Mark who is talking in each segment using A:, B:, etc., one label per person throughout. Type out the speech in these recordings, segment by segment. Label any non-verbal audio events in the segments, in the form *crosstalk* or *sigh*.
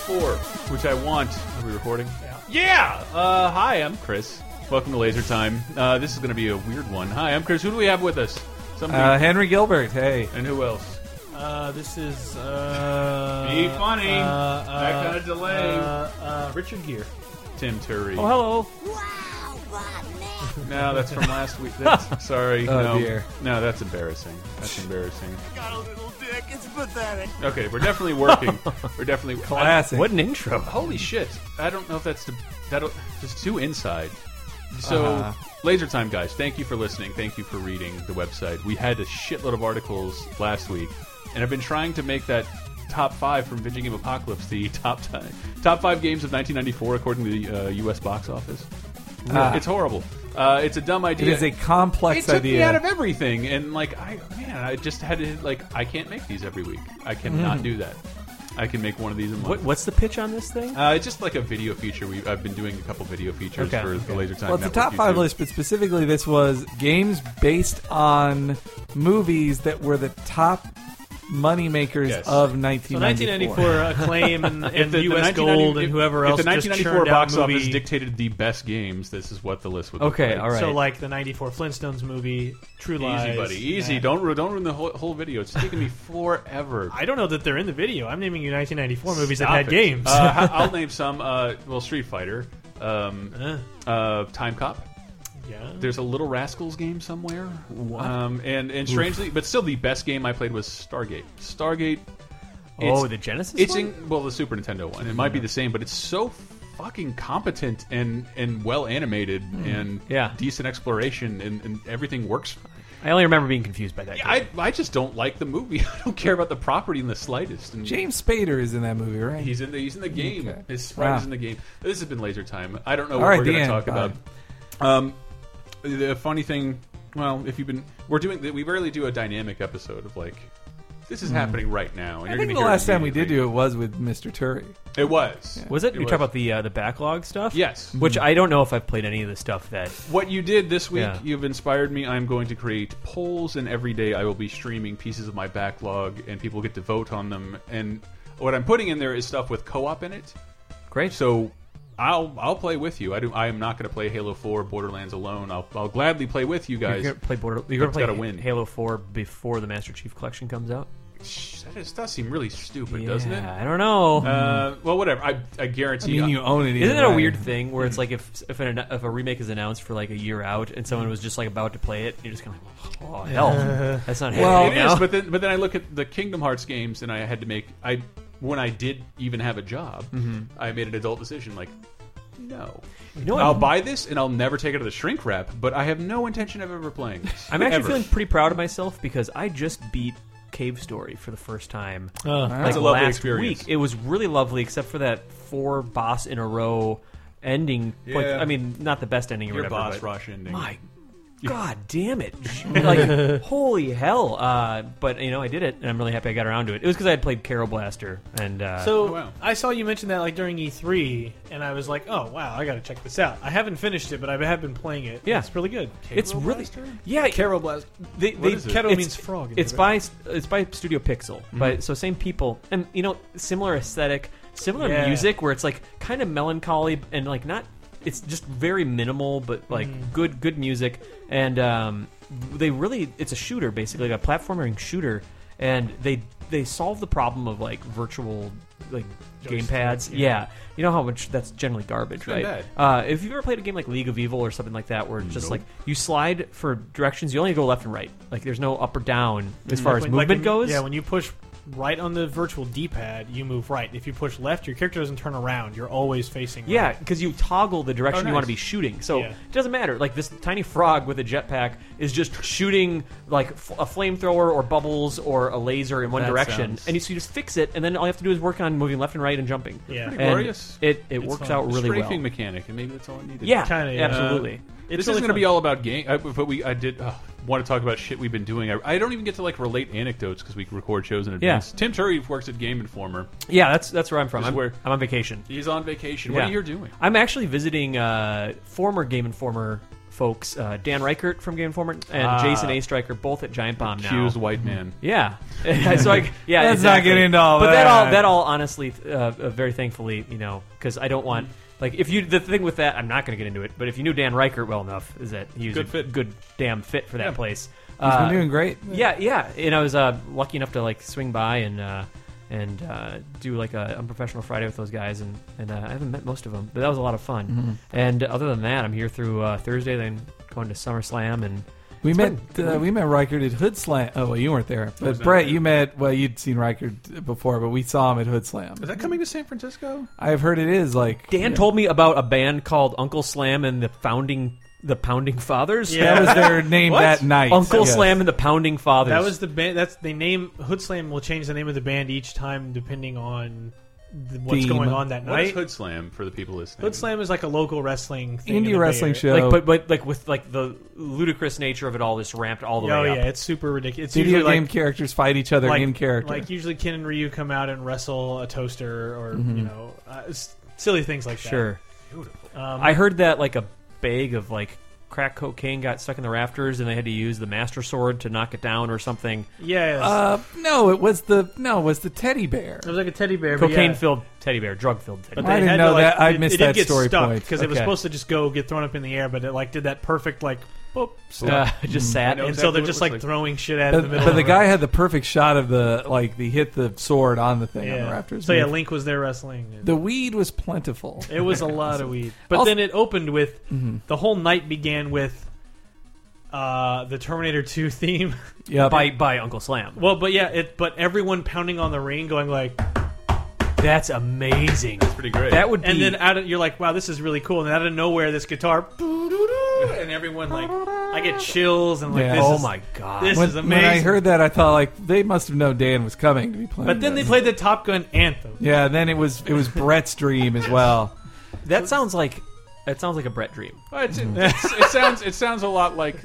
A: four, which I want. Are we recording? Yeah. Uh, hi, I'm Chris. Welcome to Laser Time. Uh, this is going to be a weird one. Hi, I'm Chris. Who do we have with us? Somebody.
B: Uh, Henry Gilbert, hey.
A: and who else?
C: Uh, this is. Uh,
A: Be funny.
C: uh, uh,
A: That kinda delay.
C: Uh, uh, Richard Gere.
A: Tim Turry.
B: Oh, hello.
D: Wow, what man?
A: No, that's from last week.
B: *laughs*
A: That's, sorry.
B: Oh,
A: no.
B: dear.
A: No, that's embarrassing. That's embarrassing.
D: Got a little dick. It's pathetic.
A: Okay, we're definitely working.
B: *laughs*
A: we're definitely
B: Classic.
C: What an intro.
A: Holy shit! I don't know if that's the that'll it's too inside. So,
B: Uh-huh.
A: laser time, guys. Thank you for listening. Thank you for reading the website. We had a shitload of articles last week, and I've been trying to make that top five from Video Game Apocalypse the *laughs* top ti- top five games of 1994 according to the uh, U.S. box office.
B: Ah.
A: It's horrible. Uh, it's a dumb
B: It
A: idea.
B: is a complex
A: It took
B: idea.
A: me out of everything, and like I man, I just had to like I can't make these every week. I
B: Mm.
A: cannot do that. I can make one of these a month.
C: What, what's the pitch on this thing?
A: Uh, it's just like a video feature. We I've been doing a couple video features
C: Okay,
A: for the
C: okay.
A: Laser Time.
B: well, it's a
A: Network
B: top five
A: YouTube.
B: list, but specifically, this was games based on movies that were the top money makers
A: Yes.
B: of
C: So
B: 1994.
C: 1994 acclaim *laughs* and, and
A: The- the
C: U.S. Gold
A: 1990
C: and whoever
A: if
C: else
A: the
C: just
A: 1994
C: churned out
A: box
C: movie.
A: office dictated the best games. This is what the list would.
B: Okay,
A: look
B: all right.
C: So like the 94 Flintstones movie, True
A: like.
C: Lies.
A: Easy, buddy. Easy.
C: Yeah.
A: Don't ru- don't ruin the whole, whole video. It's taken
C: *laughs*
A: me forever.
C: I don't know that they're in the video. I'm naming you 1994 movies
A: Stop
C: that had
A: it.
C: games.
A: Uh,
C: *laughs*
A: h- I'll name some. Uh, well, Street Fighter, um,
C: Uh,
A: uh, Time Cop.
C: yeah.
A: There's a Little Rascals game somewhere. Um, and and strangely, but still, the best game I played was Stargate. Stargate. it's-
E: oh, the Genesis.
A: It's
E: one?
A: in well the Super Nintendo one. It might be the same, but it's so fucking competent and and well animated
B: Hmm.
A: and
E: Yeah.
A: decent exploration and, and everything works.
E: I only remember being confused by that. game.
A: I I just don't like the movie. *laughs* I don't care about the property in the slightest. And
B: James Spader is in that movie, right?
A: he's in the he's in the game.
B: Okay.
A: His sprite is
B: Wow.
A: in the game. This has been Laser Time. I don't know
B: All
A: what
B: right,
A: we're
B: the
A: going to
B: end.
A: talk
B: Bye.
A: about. Um, the funny thing, well, if you've been, we're doing we rarely do a dynamic episode of like. This is happening right now. And you're
B: Hmm. I think
A: gonna
B: the
A: hear it
B: last time we did
A: immediately.
B: do it was with Mr. Turry.
A: it was
E: was it? you
A: was.
E: talk about the uh, the backlog stuff.
A: Yes.
E: Which I don't know if I've played any of the stuff that.
A: What you did this week,
E: Yeah.
A: you've inspired me. I'm going to create polls, and every day I will be streaming pieces of my backlog, and people get to vote on them. And what I'm putting in there is stuff with co-op in it.
E: Great.
A: So I'll I'll play with you. I do. I am not going to play Halo 4 Borderlands alone. I'll I'll gladly play with you
E: you're
A: guys.
E: gonna play Border. You're gonna
A: It's
E: play
A: gotta win.
E: Halo Four before the Master Chief Collection comes out.
A: Shh, That is, does seem really stupid, doesn't
E: Yeah,
A: it?
E: I don't know.
A: Uh, well, whatever. I I
B: I
A: guarantee.
B: mean, you own it.
E: Isn't
B: either
E: it a
B: way.
E: weird thing where it's
A: Mm-hmm.
E: like if if, an, if a remake is announced for like a year out and
A: Mm-hmm.
E: someone was just like about to play it, you're just kind of like, oh hell, that's not
B: Well-
E: happening
A: It is,
E: now.
A: but then but then I look at the Kingdom Hearts games, and I had to make I when I did even have a job, I made an adult decision like. No,
E: Mm-hmm. You know what?
A: I'll buy this and I'll never take it to the shrink wrap, but I have no intention of ever playing this.
E: I'm actually
A: Ever.
E: feeling pretty proud of myself because I just beat Cave Story for the first time.
C: Uh,
E: like
A: a lovely
E: last
A: experience.
E: week. It was really lovely, except for that four boss in a row ending. Like,
A: Yeah.
E: I mean, not the best ending or
A: your
E: whatever.
A: boss
E: but
A: rush ending.
E: My God,
A: *laughs*
E: damn it! like, holy hell! Uh, but you know, I did it, and I'm really happy I got around to it. It was because I had played Carol Blaster, and uh,
C: so
A: Oh, wow.
C: I saw you mention that like during E3, and I was like, oh wow, I got to check this out. I haven't finished it, but I have been playing it.
E: Yeah.
C: it's really good.
E: it's really yeah.
C: Carol Blast.
E: They,
A: What
E: they
A: is it?
C: Kettle
E: It's-
C: means frog. Mm-hmm. in
E: it's
C: Tibetan.
E: by it's by Studio Pixel, but so same people, and you know, similar aesthetic, similar
C: Yeah.
E: music, where it's like kind of melancholy and like not. It's just very minimal, but like
C: Mm.
E: good good music, and um, they really it's a shooter basically, like a platforming shooter, and they they solve the problem of like virtual like
C: Joystick,
E: gamepads,
C: yeah.
E: yeah. Uh, You know how much that's generally garbage,
A: not
E: right?
A: bad.
E: Uh, if you've ever played a game like League of Evil or something like that, where it's just like you slide for directions, you only go left and right. Like there's no up or down as far as
C: Mm-hmm. Like when- like
E: movement
C: when-
E: goes.
C: Yeah, when you push right on the virtual D-pad, you move right. If you push left, your character doesn't turn around. You're always facing.
E: yeah,
C: right.
E: because you toggle the direction
A: Oh,
E: you want
A: nice.
E: to be shooting. So
C: Yeah.
E: it doesn't matter. Like this tiny frog with a jetpack is just shooting like f- a flamethrower or bubbles or a laser in one
A: That
E: direction,
A: sounds-
E: and you, so you just fix it, and then all you have to do is work on moving left and right and jumping.
C: Yeah.
A: Pretty
E: And
A: glorious.
E: It it works
C: fun.
E: out really
A: strafing
E: well.
A: mechanic, and maybe that's all I needed.
E: Yeah,
C: Kinda, yeah.
E: absolutely.
C: It's
A: this
C: really
A: is going to
C: fun.
A: be all about game. I, but we, I did uh, want to talk about shit we've been doing. I, I don't even get to like relate anecdotes because we record shows in advance. Tim Turry works at Game Informer.
E: yeah, that's that's where I'm from.
A: This is
E: I'm,
A: where-
E: I'm on vacation.
A: He's on vacation.
E: Yeah.
A: What are you doing?
E: I'm actually visiting uh, former Game Informer folks, uh, Dan Reichert from Game Informer and
A: Ah.
E: Jason A. Striker, both at Giant Bomb now.
A: Accused white man.
E: Yeah. *laughs* so I, yeah.
B: Let's not
E: exactly.
B: get into all
E: But that
B: that.
E: all that all honestly, uh, uh, very thankfully, you know, because I don't want like if you the thing with that, I'm not going to get into it. But if you knew Dan Reichert well enough, is that he was
A: Good
E: a
A: fit.
E: good damn fit for that
A: Yeah.
E: place.
B: He's
E: Uh,
B: been doing great.
E: yeah, yeah. And I was uh, lucky enough to like swing by and uh, and uh, do like a unprofessional Friday with those guys, and and uh, I haven't met most of them, but that was a lot of fun. And other than that, I'm here through uh, Thursday, then going to SummerSlam, and
B: We
E: It's
B: met
E: been-
B: uh, we met Riker at Hood Slam. Oh, well, you weren't there, but
A: not
B: Brett,
A: there.
B: you met. Well, you'd seen Riker before, but we saw him at Hood Slam.
A: Is that coming to San Francisco?
B: I've heard it is like
E: Dan told me about a band called Uncle Slam and the founding the Pounding Fathers.
C: Yeah.
B: that was their name
A: What?
B: that night.
E: Uncle
B: Yes.
E: Slam and the Pounding Fathers.
C: That was the band. That's the name. Hood Slam will change the name of the band each time depending on the, what's
B: Theme.
C: going on that
A: What is
C: night.
A: Hood Slam for the people listening?
C: Hood Slam is like a local wrestling thing in the
B: indie
C: Bay
B: wrestling
C: Area.
B: show.
E: like, but but like with like the ludicrous nature of it all, just ramped all the
C: Oh
E: way up.
C: yeah, it's super ridiculous. It's
B: video
C: usually
B: game
C: like,
B: characters fight each other
C: like,
B: in character.
C: Like usually Ken and Ryu come out and wrestle a toaster or
B: Mm-hmm.
C: you know uh, s- silly things like that.
E: Sure.
C: Um,
E: I heard that like a bag of like crack cocaine got stuck in the rafters, and they had to use the master sword to knock it down or something.
C: yeah.
B: uh, no, it was the no, it was the teddy bear.
C: it was like a teddy bear. but yeah.
E: Cocaine filled teddy bear, drug filled teddy
C: But
E: bear.
B: I
C: they
B: didn't
C: had to,
B: know
C: like,
B: that. I
C: it-
B: missed
C: it did
B: that
C: get
B: story
C: stuck
B: point.
C: because it was
E: Okay.
C: supposed to just go get thrown up in the air, but it like did that perfect like boop stuff.
E: Uh, just
A: I
E: sat.
A: know
E: and-
C: and so
A: exactly
C: they're
A: what
C: just
A: it looks
C: like,
A: like.
C: throwing shit at it
B: But,
C: in the middle.
B: but
C: of
B: the
C: it.
B: guy had the perfect shot of the like the hit the sword on the thing on the
C: yeah.
B: rafters.
C: So yeah, Link was there wrestling.
B: the weed was plentiful. Mm-hmm.
C: It was a lot of weed. But
B: Also-
C: then it opened with
B: Mm.
C: the whole night began with uh, the Terminator 2 *laughs* theme.
B: Yeah,
E: by by Uncle Slam.
C: well, but yeah, it but everyone pounding on the ring, going like,
E: that's amazing.
A: pretty great.
E: That would be.
C: and then out of you're like, wow, this is really cool. And out of nowhere, this guitar, and everyone
B: *laughs*
C: like, I get chills and like,
B: Yeah.
C: this
E: oh
C: is-
E: my god.
C: this
B: when,
C: is
B: when I
C: amazing.
B: heard that, I thought like they must have known Dan was coming to be playing.
C: But then they
B: this.
C: played the Top Gun anthem.
B: Yeah, then it was it was Brett's dream as well.
E: that sounds like that sounds like a Brett dream.
A: Well, it's- *laughs* it's- it sounds it sounds a lot like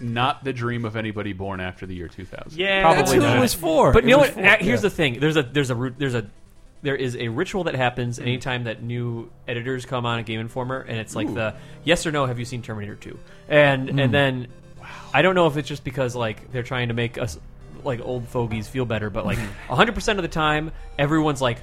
A: not the dream of anybody born after the year 2000.
C: Yeah,
B: That's
E: Probably
B: who
E: not.
B: it was for.
E: But
B: It
E: you know
B: was
E: what?
B: for-
E: Uh, Here's
B: yeah.
E: the thing. There's a there's a root there's a there is a ritual that happens
B: Mm-hmm.
E: anytime that new editors come on a Game Informer, and it's like the yes or no. Have you seen Terminator 2? And
B: Mm.
E: and then I don't know if it's just because like they're trying to make us like old fogies feel better, but like
B: Mm-hmm.
E: 100 percent of the time, everyone's like.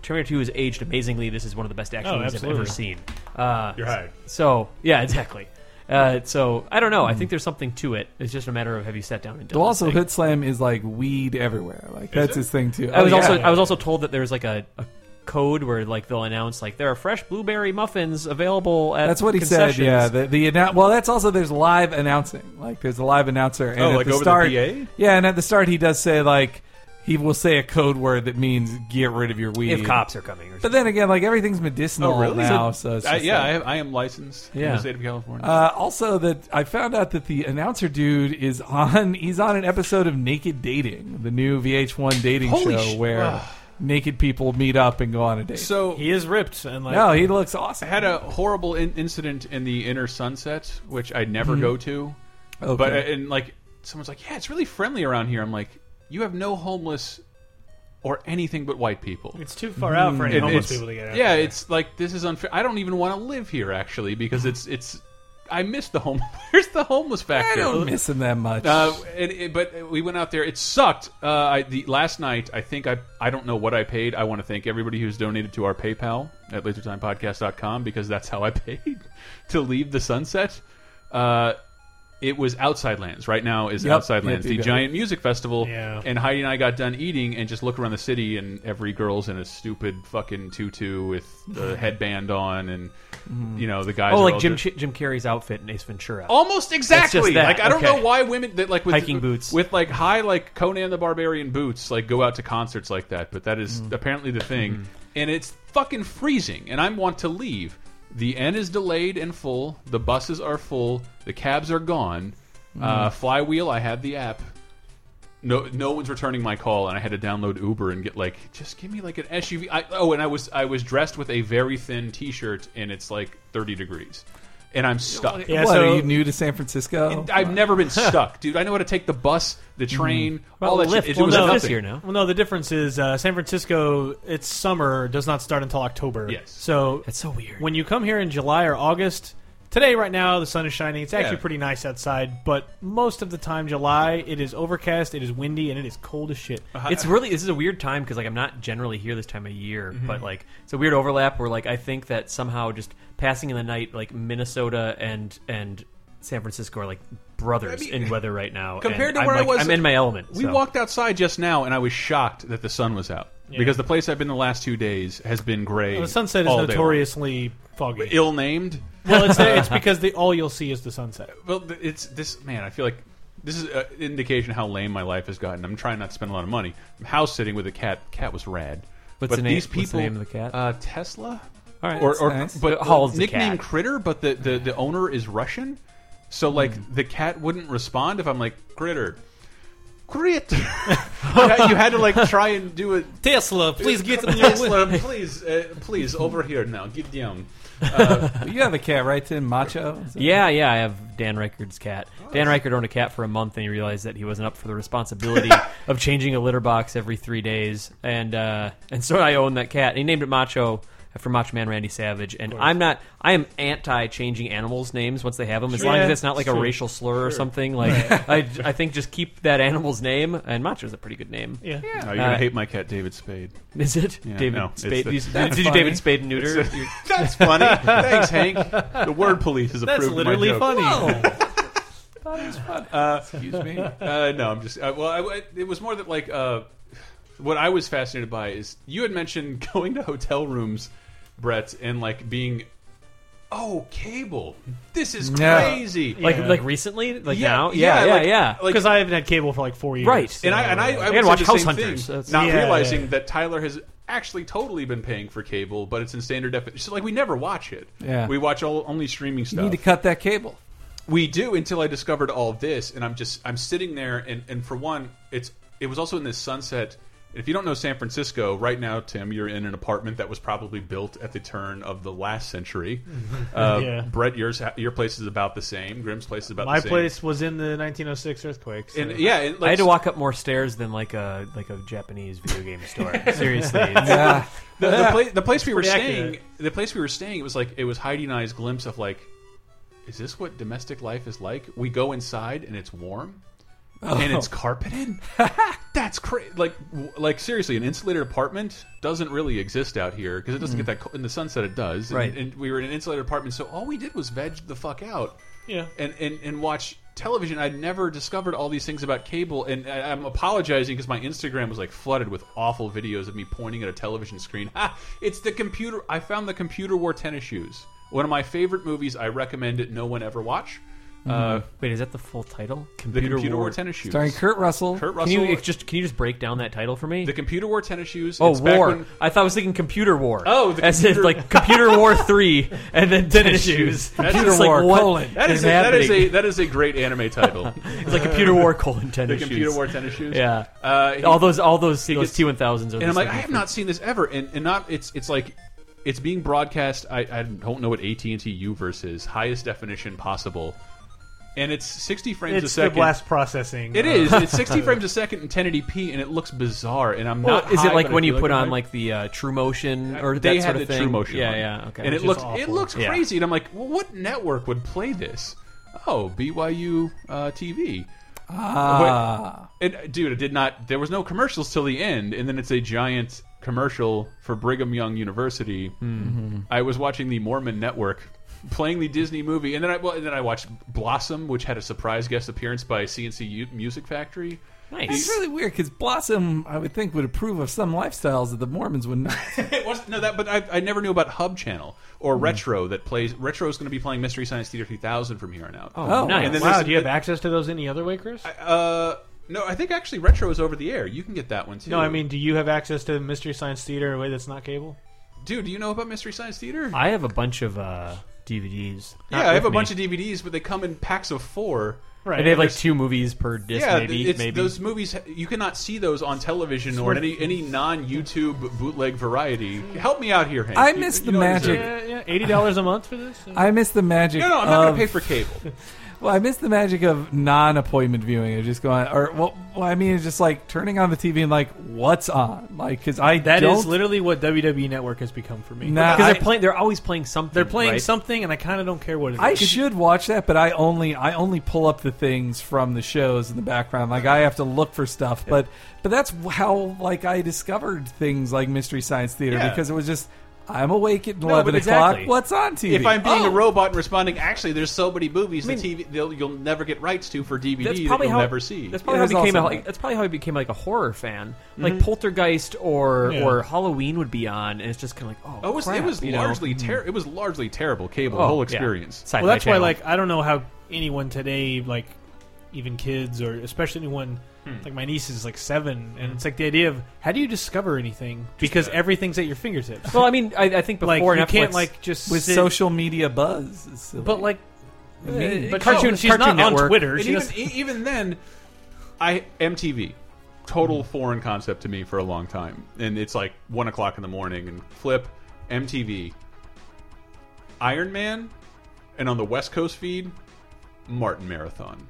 E: Terminator 2 has aged amazingly. This is one of the best action
C: Oh,
E: movies I've ever
C: absolutely.
E: seen. Uh,
A: You're high.
E: So, yeah, exactly. Uh, so, I don't know. I think there's something to it. It's just a matter of have you sat down and done
B: Mm-hmm. Well, also,
E: this thing.
B: Hood Slam is like weed everywhere. Like that's his thing too.
E: I was
B: Oh, yeah.
E: also I was also told that there's like a, a code where like they'll announce like there are fresh blueberry muffins available at
B: That's what he said.
E: concessions.
B: Yeah. The, the annou- well, that's also there's live announcing. Like there's a live announcer. And
A: Oh,
B: at
A: like
B: the
A: over the
B: start,
A: PA?
B: Yeah, and at the start he does say like he will say a code word that means get rid of your weed.
E: if cops are coming. Or
B: But
E: something.
B: then again, like everything's
A: Oh,
B: medicinal Oh, now. So it's
A: I,
B: just
A: Uh, yeah,
B: like-
A: I, am- I am licensed in
E: Yeah.
A: the state of California.
B: Uh, also, that I found out that the announcer dude is on. *laughs* He's on an episode of Naked Dating, the new VH1 dating
A: Holy
B: show
A: sh-
B: where
A: Ugh.
B: naked people meet up and go on a date.
A: so
C: He is ripped and like
B: no, he looks
A: I
B: awesome.
A: had a horrible in incident in the inner sunset, which I never go to.
B: Mm-hmm. Okay.
A: But uh, and like someone's like, yeah, it's really friendly around here. I'm like, you have no homeless or anything but white people.
C: it's too far out for any
B: Mm.
A: And
C: homeless
A: it's-
C: people to get out.
A: yeah, it's like this is unfair. I don't even want to live here actually because it's it's. I miss the home. *laughs* Where's the homeless factor?
B: I don't miss him that much.
A: Uh, and, it- but we went out there. It sucked. Uh, I, the last night, I think I I don't know what I paid. I want to thank everybody who's donated to our PayPal at lasertimepodcast.com because that's how I *laughs* paid to leave the sunset. Uh, it was Outside Lands. Right now is
B: Yep.
A: Outside
B: Yep,
A: Lands,
B: you
A: the
B: got
A: giant music festival.
C: Yeah.
A: And Heidi and I got done eating and just look around the city, and every girl's in a stupid fucking tutu with
B: *laughs*
A: the headband on, and
B: Mm-hmm.
A: you know the guys.
E: oh,
A: are
E: like
A: all
E: Jim
A: just-
E: Jim Carrey's outfit in Ace Ventura.
A: Almost exactly.
E: that.
A: Like I don't
E: Okay.
A: know why women that like with
E: Hiking boots.
A: with like high like Conan the Barbarian boots like go out to concerts like that, but that
E: Mm.
A: is apparently the
E: Mm-hmm.
A: thing. And it's fucking freezing and I want to leave. The N is delayed and full, the buses are full, the cabs are gone.
E: Mm.
A: Uh, flywheel, I had the app. No, no one's returning my call, and I had to download Uber and get like, just give me like an SUV. I, oh, and I was I was dressed with a very thin T-shirt, and it's like thirty degrees, and I'm stuck.
C: Yeah,
B: what
C: so-
B: are you new to San
E: Oh,
B: Francisco?
A: I've never
E: *laughs*
A: been stuck, dude. I know how to take the bus, the train, all that
E: Lyft,
A: shit. It
E: Hmm. well,
A: was
E: Lyft
A: nothing.
E: is here now.
C: Well, no, the difference is uh, San Francisco. Its summer does not start until October.
A: Yes.
C: So
E: That's so weird.
C: when you come here in July or August, Today, right now, the sun is shining. It's actually
A: Yeah.
C: pretty nice outside, but most of the time, July, it is overcast, it is windy, and it is cold as shit.
E: *laughs*
A: Uh-huh.
E: It's really this is a weird time because like I'm not generally here this time of year,
B: Mm-hmm.
E: but like it's a weird overlap where like I think that somehow just passing in the night like Minnesota and and San Francisco are like brothers
A: I mean,
E: in weather right now.
A: compared
E: and
A: to
E: I'm,
A: where I
E: like,
A: was-
E: I'm in my element.
A: We
E: so.
A: walked outside just now, and I was shocked that the sun was out because the place I've been the last two days has been gray.
C: The sunset is
A: all day
C: notoriously foggy.
A: long.
E: *laughs*
A: ill-named.
C: well, it's, it's because the, all you'll see is
A: *laughs*
C: the sunset.
A: Well, th- it's this man. I feel like this is an indication how lame my life has gotten. I'm trying not to spend a lot of money. I'm house sitting with a cat. Cat was rad.
E: What's
A: but
E: the name-
A: these people,
E: what's the name of the cat?
A: Uh, Tesla.
B: All right,
A: or,
B: that's
A: or
B: nice.
A: but
E: Uh, Hall's the
A: nickname
E: cat.
A: Critter, but the, the the owner is Russian, so like
E: Hmm.
A: the cat wouldn't respond if I'm like Critter,
E: *laughs*
A: Critter. *laughs* you, had, you had to like try and do it.
C: Tesla, please
A: *laughs* Tesla, please, uh, please over here now. Get
E: *laughs*
A: down.
B: *laughs*
A: Uh,
B: you have a cat, right, Tim? Macho? Is that-
E: Yeah, yeah, I have Dan Reichard's cat. Dan Reichard owned a cat for a month, and he realized that he wasn't up for the responsibility of changing a litter box every three days, and uh, and so I own that cat. And he named it Macho after Macho Man Randy Savage. And I'm not, I am anti changing animals' names once they have them, as long
C: Yeah,
E: as it's not like
C: it's
E: a
C: true.
E: racial slur or something. Like I, I think just keep that animal's name, and Macho's a pretty good name.
C: Yeah.
A: Oh, you're gonna
E: Uh,
A: hate my cat, David Spade.
E: Is it
A: Yeah,
E: David
A: no, it's
E: Spade?
A: the-
E: you- did
B: That's
E: you
B: funny.
E: David Spade neuter? You-
A: That's
C: *laughs*
A: funny. Thanks, Hank. The word police has approved
C: That's
A: my
C: literally
A: joke.
C: funny.
B: Excuse me.
A: Uh, no, I'm just. Uh, well, I, I- it was more that like uh, what I was fascinated by is you had mentioned *laughs* going to hotel rooms, Brett, and like being, oh, cable. This is
B: No.
A: crazy.
E: Like
C: Yeah.
E: like recently, like
A: Yeah,
E: now, yeah,
A: yeah,
E: yeah,
A: like-
E: yeah.
A: like-
C: Because I haven't had cable for like four years.
E: Right.
A: and I and I, I, would
E: watch
A: say the
E: House
A: same
E: Hunters.
A: thing,
E: That's-
A: not
C: Yeah,
A: realizing
C: yeah.
A: that Tyler has actually totally been paying for cable, but it's in standard definition. So, like we never watch it.
B: Yeah.
A: we watch all only streaming
B: You
A: stuff.
B: need to cut that cable.
A: We do until I discovered all this, and I'm just I'm sitting there, and and for one, it's it was also in this sunset. If you don't know San Francisco right now, Tim, you're in an apartment that was probably built at the turn of the last century. Uh,
C: Yeah.
A: Brett, yours ha- your place is about the same. Grimm's place is about
C: My
A: the same.
C: place was in the 1906 earthquake. so-
A: and yeah, and, like,
E: I had to walk up more stairs than like a like a Japanese video game store.
A: *laughs*
E: Seriously, it's-
B: Yeah.
A: the, the, pla-
C: *laughs*
A: the place we were
C: pretty
A: staying,
C: accurate.
A: the place we were staying, it was like it was Heidi and I's glimpse of like, is this what domestic life is like? We go inside and it's warm, and
C: Oh.
A: it's
C: *laughs*
A: carpeted. That's crazy. Like, w- like seriously, an insulated apartment doesn't really exist out here because it doesn't
C: Mm.
A: get that cold. In the sunset, it does. And-
E: Right.
A: And, we were in an insulated apartment, so all we did was veg the fuck out.
C: Yeah.
A: And and and watch television. I'd never discovered all these things about cable, and I, I'm apologizing because my Instagram was like flooded with awful videos of me pointing at a television screen. Ha! It's the computer. I found the computer wore tennis shoes. One of my favorite movies. I recommend it. No one ever watch.
E: Mm-hmm.
A: Uh,
E: wait, is that the full title?
A: the computer wore tennis shoes.
B: Starring Kurt Russell.
A: Kurt
E: Can
A: Russell.
E: you ex- just can you just break down that title for me?
A: The computer wore tennis shoes.
E: oh,
A: It's back
E: war!
A: *laughs* when-
E: I thought I was thinking computer war.
A: Oh, the
E: as
A: computer-
E: if like computer war three, and then tennis shoes.
B: Computer
E: It's like,
B: war,
E: what
B: colon.
A: that is, a, that
E: happening?
A: is a that is a great anime
E: *laughs*
A: title.
E: it's like computer war colon
A: the
E: tennis
A: computer
E: shoes.
A: wore tennis shoes.
E: Yeah.
A: Uh, he-
E: all those all those those
A: gets-
E: T one thousands are.
A: and
E: the
A: I'm like,
E: same.
A: I have not seen this ever, and and not it's it's like it's being broadcast. I, I don't know what AT and T Uverse is, highest definition possible, and it's 60 frames a
C: it's the
A: second.
C: blast processing.
A: It
C: uh,
A: is. It's 60 frames a second and 1080p, and it looks bizarre. And I'm
E: Well,
A: not.
E: is
A: high,
E: it like
A: but I
E: when you
A: feel
E: put
A: I'm
E: on like the uh, True Motion or
A: they
E: that
A: had
E: sort of
A: the
E: thing?
A: true motion,
E: Yeah,
A: on.
E: yeah, okay.
A: and it
C: is
A: looks
C: awful.
A: it looks
E: Yeah.
A: crazy. And I'm like, well, what network would play this? Oh, BYU uh, TV.
B: Ah.
A: And uh, dude, it did not. There was no commercials till the end, and then it's a giant commercial for Brigham Young University.
E: Mm-hmm.
A: I was watching the Mormon Network, playing the Disney movie, and then I well, and then I watched Blossom, which had a surprise guest appearance by CNC U- Music Factory.
E: nice.
B: It's really weird because Blossom, I would think, would approve of some lifestyles that the Mormons
A: *laughs*
B: would not.
A: It wasn't no that, but I, I never knew about Hub Channel or Retro that plays. Retro is going to be playing Mystery Science Theater 3000 from here on out.
E: Oh, nice.
A: And then
C: Wow,
A: there's-
C: do you have access to those any other way, Chris?
A: Uh, no, I think actually Retro is over the air. You can get that one too.
C: no, I mean, do you have access to Mystery Science Theater in a way that's not cable?
A: dude, do you know about Mystery Science Theater?
E: I have a bunch of uh, DVDs. Not
A: yeah, I have a
E: with me.
A: bunch of DVDs, but they come in packs of four.
C: Right.
E: And they have like two movies per disc,
A: yeah,
E: maybe.
A: it's,
E: maybe.
A: those movies you cannot see those on television or in any any non YouTube bootleg variety. Help me out here, Hank.
B: I
A: You-
B: miss
A: you
B: the
A: know what I'm
B: magic.
A: saying.
C: *laughs* yeah, yeah, eighty dollars a month for this.
B: I miss the magic.
A: No, no, I'm not
B: of-
A: going to pay for cable.
B: Well, I miss the magic of non-appointment viewing. Of just going, or well, well, I mean, it's just like turning on the TV and like, what's on? Like, because I
C: That
B: don't,
C: is literally what
E: E
C: WWE Network has become for me.
B: Nah,
E: because
B: I-
E: they're playing. They're always playing something.
C: They're playing
E: right?
C: something, and I kind of don't care what it is.
B: I should watch that, but I only I only pull up the things from the shows in the background. Like I have to look for stuff, but but that's how like I discovered things like Mystery Science Theater
A: Yeah.
B: because it was just I'm awake at
E: No,
B: eleven
E: but
B: o'clock.
E: exactly.
B: What's on TV?
A: If I'm being
B: Oh,
A: a robot and responding, actually, there's so many movies
E: I
A: that TV they'll, you'll never get rights to for DVD
E: That's
A: that
E: probably
A: you'll
E: how.
A: never see.
E: That's probably
B: It
E: how I
B: is
E: became.
B: also
E: a-
B: that.
E: that's probably how I became like a horror fan. Like Poltergeist or
C: Yeah.
E: or Halloween would be on, and it's just kind of like oh,
A: Oh, it was,
E: crap,
A: it was
E: you know?
A: largely ter- it was largely terrible cable the
E: Oh,
A: whole
E: yeah.
A: experience.
E: Sci-fi
C: well, that's why,
E: channel.
C: like, I don't know how anyone today, like, even kids or especially anyone, like my niece is like seven, and it's like the idea of how do you discover anything because everything's at your fingertips.
E: Well, I mean, I, I think before
C: like,
E: and
C: you
E: after
C: can't
E: like.
C: like just
B: with
C: sit-
B: social media buzz, it's silly.
C: but like,
B: mean.
C: *laughs* but
E: Cartoon-
C: she's
E: Cartoon
C: not on
E: Network.
C: Twitter.
A: And
C: She
A: even,
C: doesn't-
A: e- even then, I MTV, total
C: Mm-hmm.
A: foreign concept to me for a long time. And it's like one o'clock in the morning, and flip MTV, Iron Man, and on the West Coast feed, Martin
C: *laughs*
A: Marathon.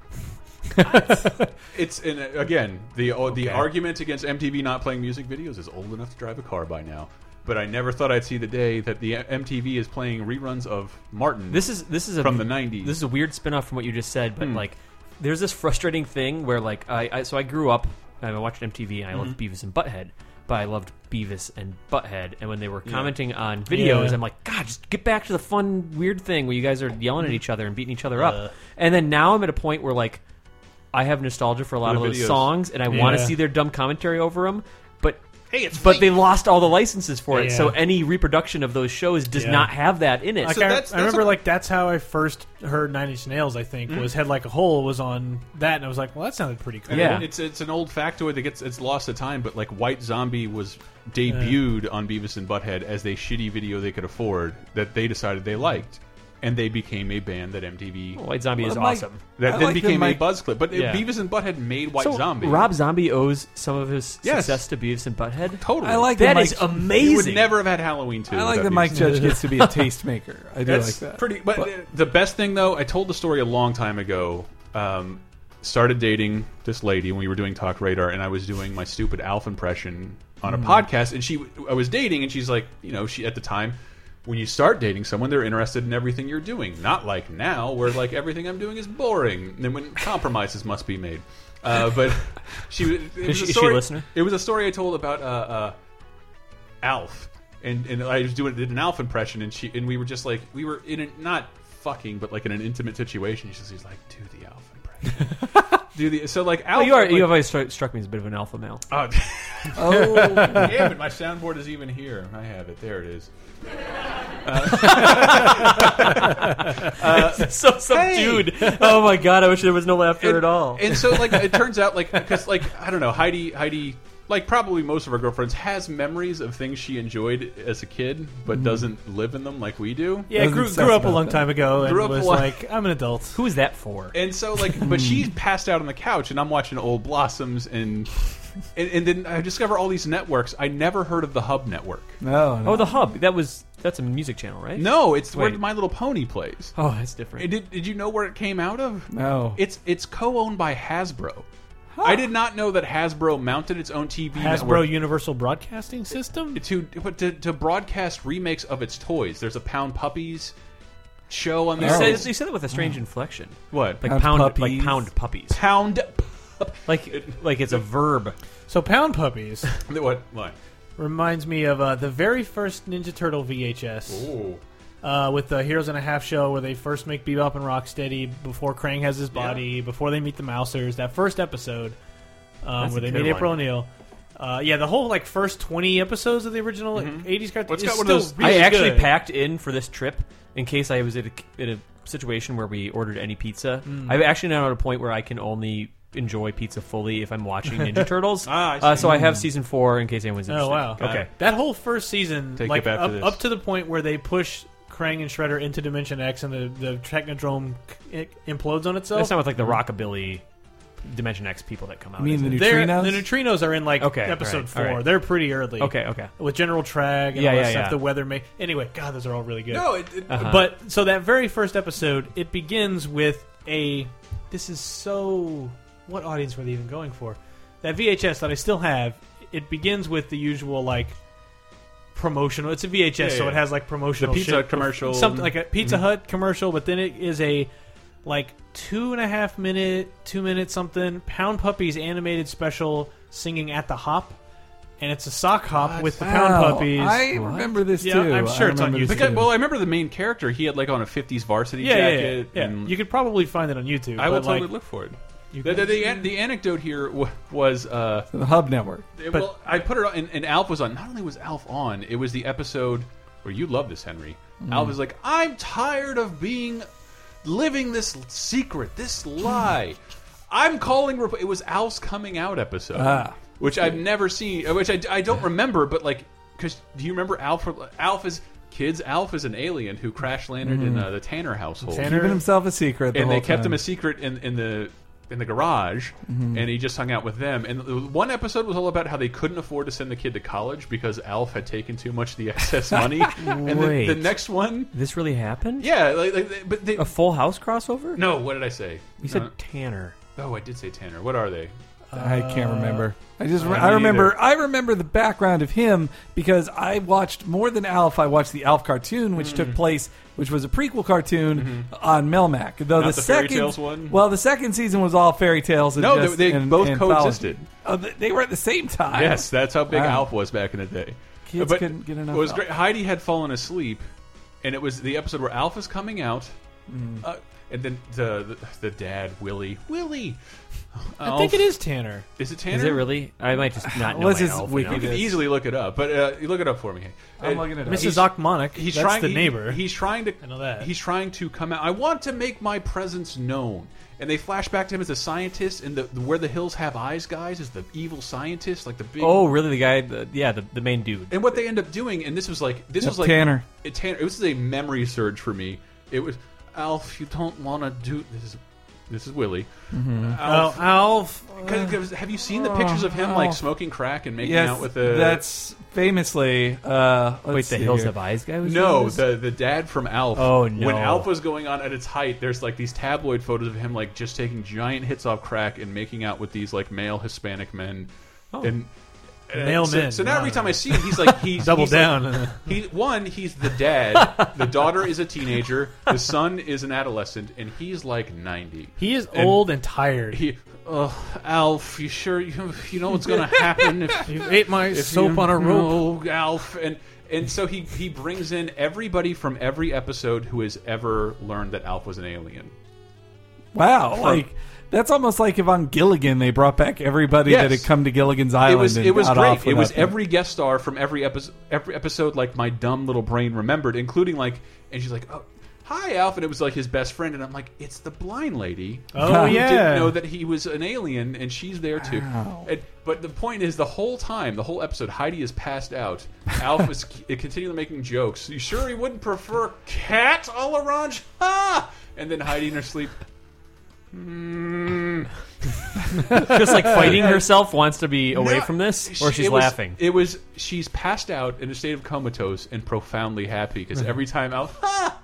A: it's and uh, again the uh, the argument against MTV not playing music videos is old enough to drive a car by now. But I never thought I'd see the day that the MTV is playing reruns of Martin.
E: This is this is a,
A: Mm. From the Mm. 90s.
E: This is a weird spin-off from what you just said, but like, there's this frustrating thing where like I, I so I grew up, I watched MTV and I loved
A: Mm-hmm.
E: Beavis and Butthead, but I loved Beavis and Butthead, and when they were commenting on videos,
C: Yeah.
E: I'm like, God, just get back to the fun weird thing where you guys are yelling at
A: Mm-hmm.
E: each other and beating each other
A: Uh.
E: up, and then now I'm at a point where like. I have nostalgia for a lot
A: The
E: of those
A: videos.
E: songs, and I want to
C: Yeah.
E: see their dumb commentary over them. But
A: hey, it's
E: but they lost all the licenses for it,
C: Yeah.
E: so any reproduction of those shows does
C: Yeah.
E: not have that in it.
C: Like,
A: So
C: I,
A: that's-
C: I
A: that's
C: remember,
A: a-
C: like that's how I first heard Nine Inch Nails. I think was Head Like a Hole was on that, and I was like, well, that sounded pretty cool.
A: And
E: Yeah.
A: it's it's an old factoid that gets it's lost to time, but like White Zombie was debuted on Beavis and Butthead as a shitty video they could afford that they decided they liked, and they became a band that MTV
E: White Zombie is
B: Well, Mike-
E: awesome.
A: that
B: I
A: then
B: like that
A: became a
B: Mike-
A: buzz clip. But
E: Yeah.
A: Beavis and Butthead made White
E: so
A: Zombie.
E: Rob Zombie owes some of his
A: Yes.
E: success to Beavis and Butthead.
A: totally,
B: I like
E: That
B: that
E: is
B: Mike-
E: amazing.
A: You would never have had Halloween too.
B: I like
A: without
B: that
A: Beavis
B: Mike
A: and
B: Judge gets to be
A: *laughs*
B: a tastemaker. I do
A: That's
B: like that.
A: pretty. But,
B: But-
A: uh, the best thing though, I told the story a long time ago. Um, started dating this lady when we were doing Talk Radar, and I was doing my stupid Alf impression on a podcast, and she, I was dating, and she's like, you know, she at the time. When you start dating someone, they're interested in everything you're doing. Not like now, where like everything I'm doing is boring, and then when compromises must be made. Uh, but she was- it was
E: she-
A: a
E: is she a
A: story,
E: listener?
A: It was a story I told about uh, uh, Alf, and and I was doing did an Alf impression, and she and we were just like we were in a, not fucking, but like in an intimate situation. She's she's like, do the Alf impression,
E: *laughs*
A: do the so like Alf.
E: Oh, you are.
A: like-
E: You have always struck, struck me as a bit of an alpha
A: *laughs*
E: male.
A: Oh,
E: *laughs*
B: oh,
A: damn it! My soundboard is even here. I have it. There it is.
E: so subdued. *laughs* oh my god! I wish there was no laughter at all.
A: And so like it turns out
E: *laughs*
A: like because like I don't know Heidi Heidi like probably most of our girlfriends has memories of things she enjoyed as a kid, but
E: Mm-hmm.
A: doesn't live in them like we do.
C: Yeah, I
B: Doesn't
C: grew,
B: suck
C: grew up a
B: about
C: long
B: that.
C: time ago and
A: Grew up a
C: was
A: lot-
C: like, I'm an adult.
E: Who is that for?
A: And so, like, but she's passed out on the couch, and I'm watching Old Blossoms, and, and and then I discover all these networks. I never heard of the Hub Network.
B: no, no.
E: oh, the hub. That was. That's a music channel, right?
A: No, it's where
E: Wait.
A: My Little Pony plays.
E: Oh, that's
A: And
E: different.
A: Did Did you know where it came out of?
B: No.
A: It's it's co-owned by Hasbro. I did not know that Hasbro mounted its own TV
C: Hasbro
A: network
C: Universal Broadcasting System?
A: to but to, to broadcast remakes of its toys. There's a Pound Puppies show on the
E: you, said,
A: network.
E: you said it with a strange inflection,
A: what
E: Oh. like
B: Pound
E: pound, like
B: puppies.
A: *laughs*
E: pound puppies,
A: Pound
E: like like it's a verb.
C: So
A: *laughs*
C: Pound Puppies
A: what what?
C: reminds me of uh, the very first Ninja Turtle VHS
A: Ooh.
C: uh, with the Heroes and a Half show where they first make Bebop and Rocksteady before Krang has his body, before they meet the Mousers. That first episode um,
E: That's
C: where
E: a
C: they
E: good
C: meet April
E: one.
C: O'Neil. Uh, yeah, the whole like first twenty episodes of the original like, '80s cartoon
A: Mm-hmm. Well, it's
C: is
A: got
C: still
A: one of those-
C: really
E: I actually
C: good.
E: packed in for this trip in case I was at a, at a situation where we ordered any pizza.
C: Mm.
E: I'm actually now at a point where I can only enjoy pizza fully if I'm watching
C: *laughs*
E: Ninja Turtles.
A: Ah, I
E: Uh,
A: see.
E: so I have season four in case anyone's
C: Oh
E: interested.
C: wow!
A: Got it.
C: that whole first season,
A: Take
C: like
A: it back to
C: up,
A: this.
C: up to the point where they push Krang and Shredder into Dimension X, and the the Technodrome c- implodes on itself.
E: That's not with like the rockabilly Dimension X people that come out.
B: you mean
E: is
B: the
E: it?
C: They're-
B: neutrinos?
C: The neutrinos are in like
E: Okay,
C: episode
E: alright,
C: four.
E: alright.
C: They're pretty early.
E: okay, okay.
C: With General Trag and
E: Yeah,
C: all that
E: yeah,
C: stuff,
E: yeah.
C: the weather may anyway. God, those are all really good.
A: No, it, it,
E: Uh-huh.
C: But so that very first episode, it begins with a this is so what audience were they even going for? That VHS that I still have, it begins with the usual like promotional. It's a VHS,
A: Yeah,
C: so
A: yeah.
C: it has like promotional
A: The pizza
C: shit.
A: commercial. Mm-hmm.
C: something like a Pizza Hut commercial, but then it is a like two and a half minute, two minute something Pound Puppies animated special singing at the hop, and it's a sock hop with the Pound
B: Wow,
C: Puppies.
B: I remember this
C: Yeah,
B: too.
C: I'm sure
B: I
C: it's on
B: remember this
C: YouTube.
A: Because,
B: too.
A: well, I remember the main character. He had like on a '50s varsity
C: yeah, yeah, yeah,
A: jacket.
C: yeah.
A: and-
C: You could probably find it on YouTube.
A: I will
C: but, like,
A: totally look for it.
C: you
A: The, the,
C: guys-
A: the, an- the anecdote here wa- was uh,
B: the Hub Network.
A: it- well, I put it on, and, and Alf was on. Not only was Alf on, it was the episode where you love this, Henry. Alf was like, I'm tired of being living this secret, this lie. I'm calling. Rep-. It was Alf's coming out episode,
B: Ah.
A: which I've never seen, uh, which I, I don't remember, but like, because do you remember Alf? Alf is kids. Alf is an alien who crash landed in uh, the Tanner household
C: Tanner
B: Keeping himself a secret. The
A: and
B: whole
A: they kept
B: time. Mm-hmm.
A: him a secret in, in the in the garage, and he just hung out with them. And the- one episode was all about how they couldn't afford to send the kid to college because Alf had taken too much of the
B: *laughs*
A: excess money. and the, the
E: Wait.
A: next one,
E: This really happened?
A: yeah, like, like, they- but they,
E: A Full House crossover?
A: no, what did I say?
E: You said Tanner.
A: No. oh, I did say Tanner. What are they?
B: I can't
A: Uh,
B: remember. I just
A: me
B: I remember
A: neither.
B: I remember the background of him because I watched more than Alf. I watched the Alf cartoon, which
A: Mm-hmm.
B: took place, which was a prequel cartoon on Melmac. Though
A: Not
B: the
A: the Fairy
B: second
A: Tales one?
B: well, the second season was all fairy tales. And
A: No, they-
B: just-
A: they
B: and-
A: both
B: and
A: coexisted.
B: followed- Oh, they- they were at the same time.
A: Yes, that's how big
B: Wow.
A: Alf was back in the day.
B: Kids couldn't get enough
A: It was
B: Alf.
A: great. Heidi had fallen asleep, and it was the episode where Alf is coming out,
B: Mm.
A: uh, and then the, the the dad Willie Willie.
C: I think it is Tanner.
A: Is it Tanner?
E: Is it really? I might
C: *laughs*
E: just not know
B: Unless
E: my
B: it's
E: Alf
B: Wiki.
A: You
E: enough.
A: can easily look it up, but uh, you look it up for me.
B: I'm
A: Uh,
B: looking it up.
C: Mrs.
B: He's-
C: Ockmonic.
A: He's
C: that's
A: trying.
C: the
A: he-
C: neighbor.
A: he's trying to.
C: I know that.
A: He's trying to come out. I want to make my presence known. And they flash back to him as a scientist, and the, the where the hills have eyes, guys, is the evil scientist, like the big.
E: Oh, really? The guy? The, yeah, the, the main dude.
A: And what they end up doing, and this was like this
B: Yep,
A: was like
B: Tanner.
A: It, Tanner. This is a memory surge for me. It was Alf. You don't want to do this. Is this is Willie.
C: Oh,
A: Alf.
C: Alf.
A: Cause, 'cause have you seen the pictures of him like
B: Alf.
A: smoking crack and making
B: Oh. Yes,
A: out with the?
B: that's famously. Uh, let's
E: Wait, the
B: see
E: Hills
B: here.
E: Have Eyes guy was doing
A: No,
E: this?
A: the the dad from Alf.
E: Oh, no.
A: When Alf was going on at its height, there's like these tabloid photos of him like just taking giant hits off crack and making out with these like male Hispanic men, and. and
C: Male
A: so,
C: men,
A: So now every
C: wow.
A: time I see him, he's like he's
C: Double
A: he's, like,
C: down.
A: *laughs* he one, he's the dad. the daughter is a teenager. The son is an adolescent, and he's like ninety.
C: He is
A: And-
C: old and tired.
A: He, oh, Alf, you sure you you know what's gonna happen
C: *laughs*
A: if
C: you ate my soap
A: you
C: on a rope.
A: know, Alf, and and so he he brings in everybody from every episode who has ever learned that Alf was an alien.
B: Wow, like that's almost like if on Gilligan they brought back everybody
A: Yes.
B: that had come to Gilligan's
A: It
B: Island.
A: was
B: and
A: it was
B: got
A: great.
B: off
A: It was
B: without them.
A: every guest star from every episode every episode like my dumb little brain remembered, including like and she's like, oh, hi Alf, and it was like his best friend, and I'm like, it's the blind lady.
C: Oh
B: Who
A: who
C: yeah.
A: didn't know that he was an alien, and she's there too.
B: Wow.
A: And- but the point is, the whole time, the whole episode, Heidi is passed out. Alf
E: *laughs*
A: is c- continually making jokes. You sure he wouldn't prefer cat all orange? Ha! And then Heidi in her sleep. "Mm."
E: just like
A: *laughs*
E: fighting herself wants to be away
A: No,
E: from this,
A: sh-
E: or she's
A: it was-
E: laughing.
A: It was she's passed out in a state of comatose and profoundly happy because
E: Mm-hmm.
A: every time Alf. *laughs* Ha!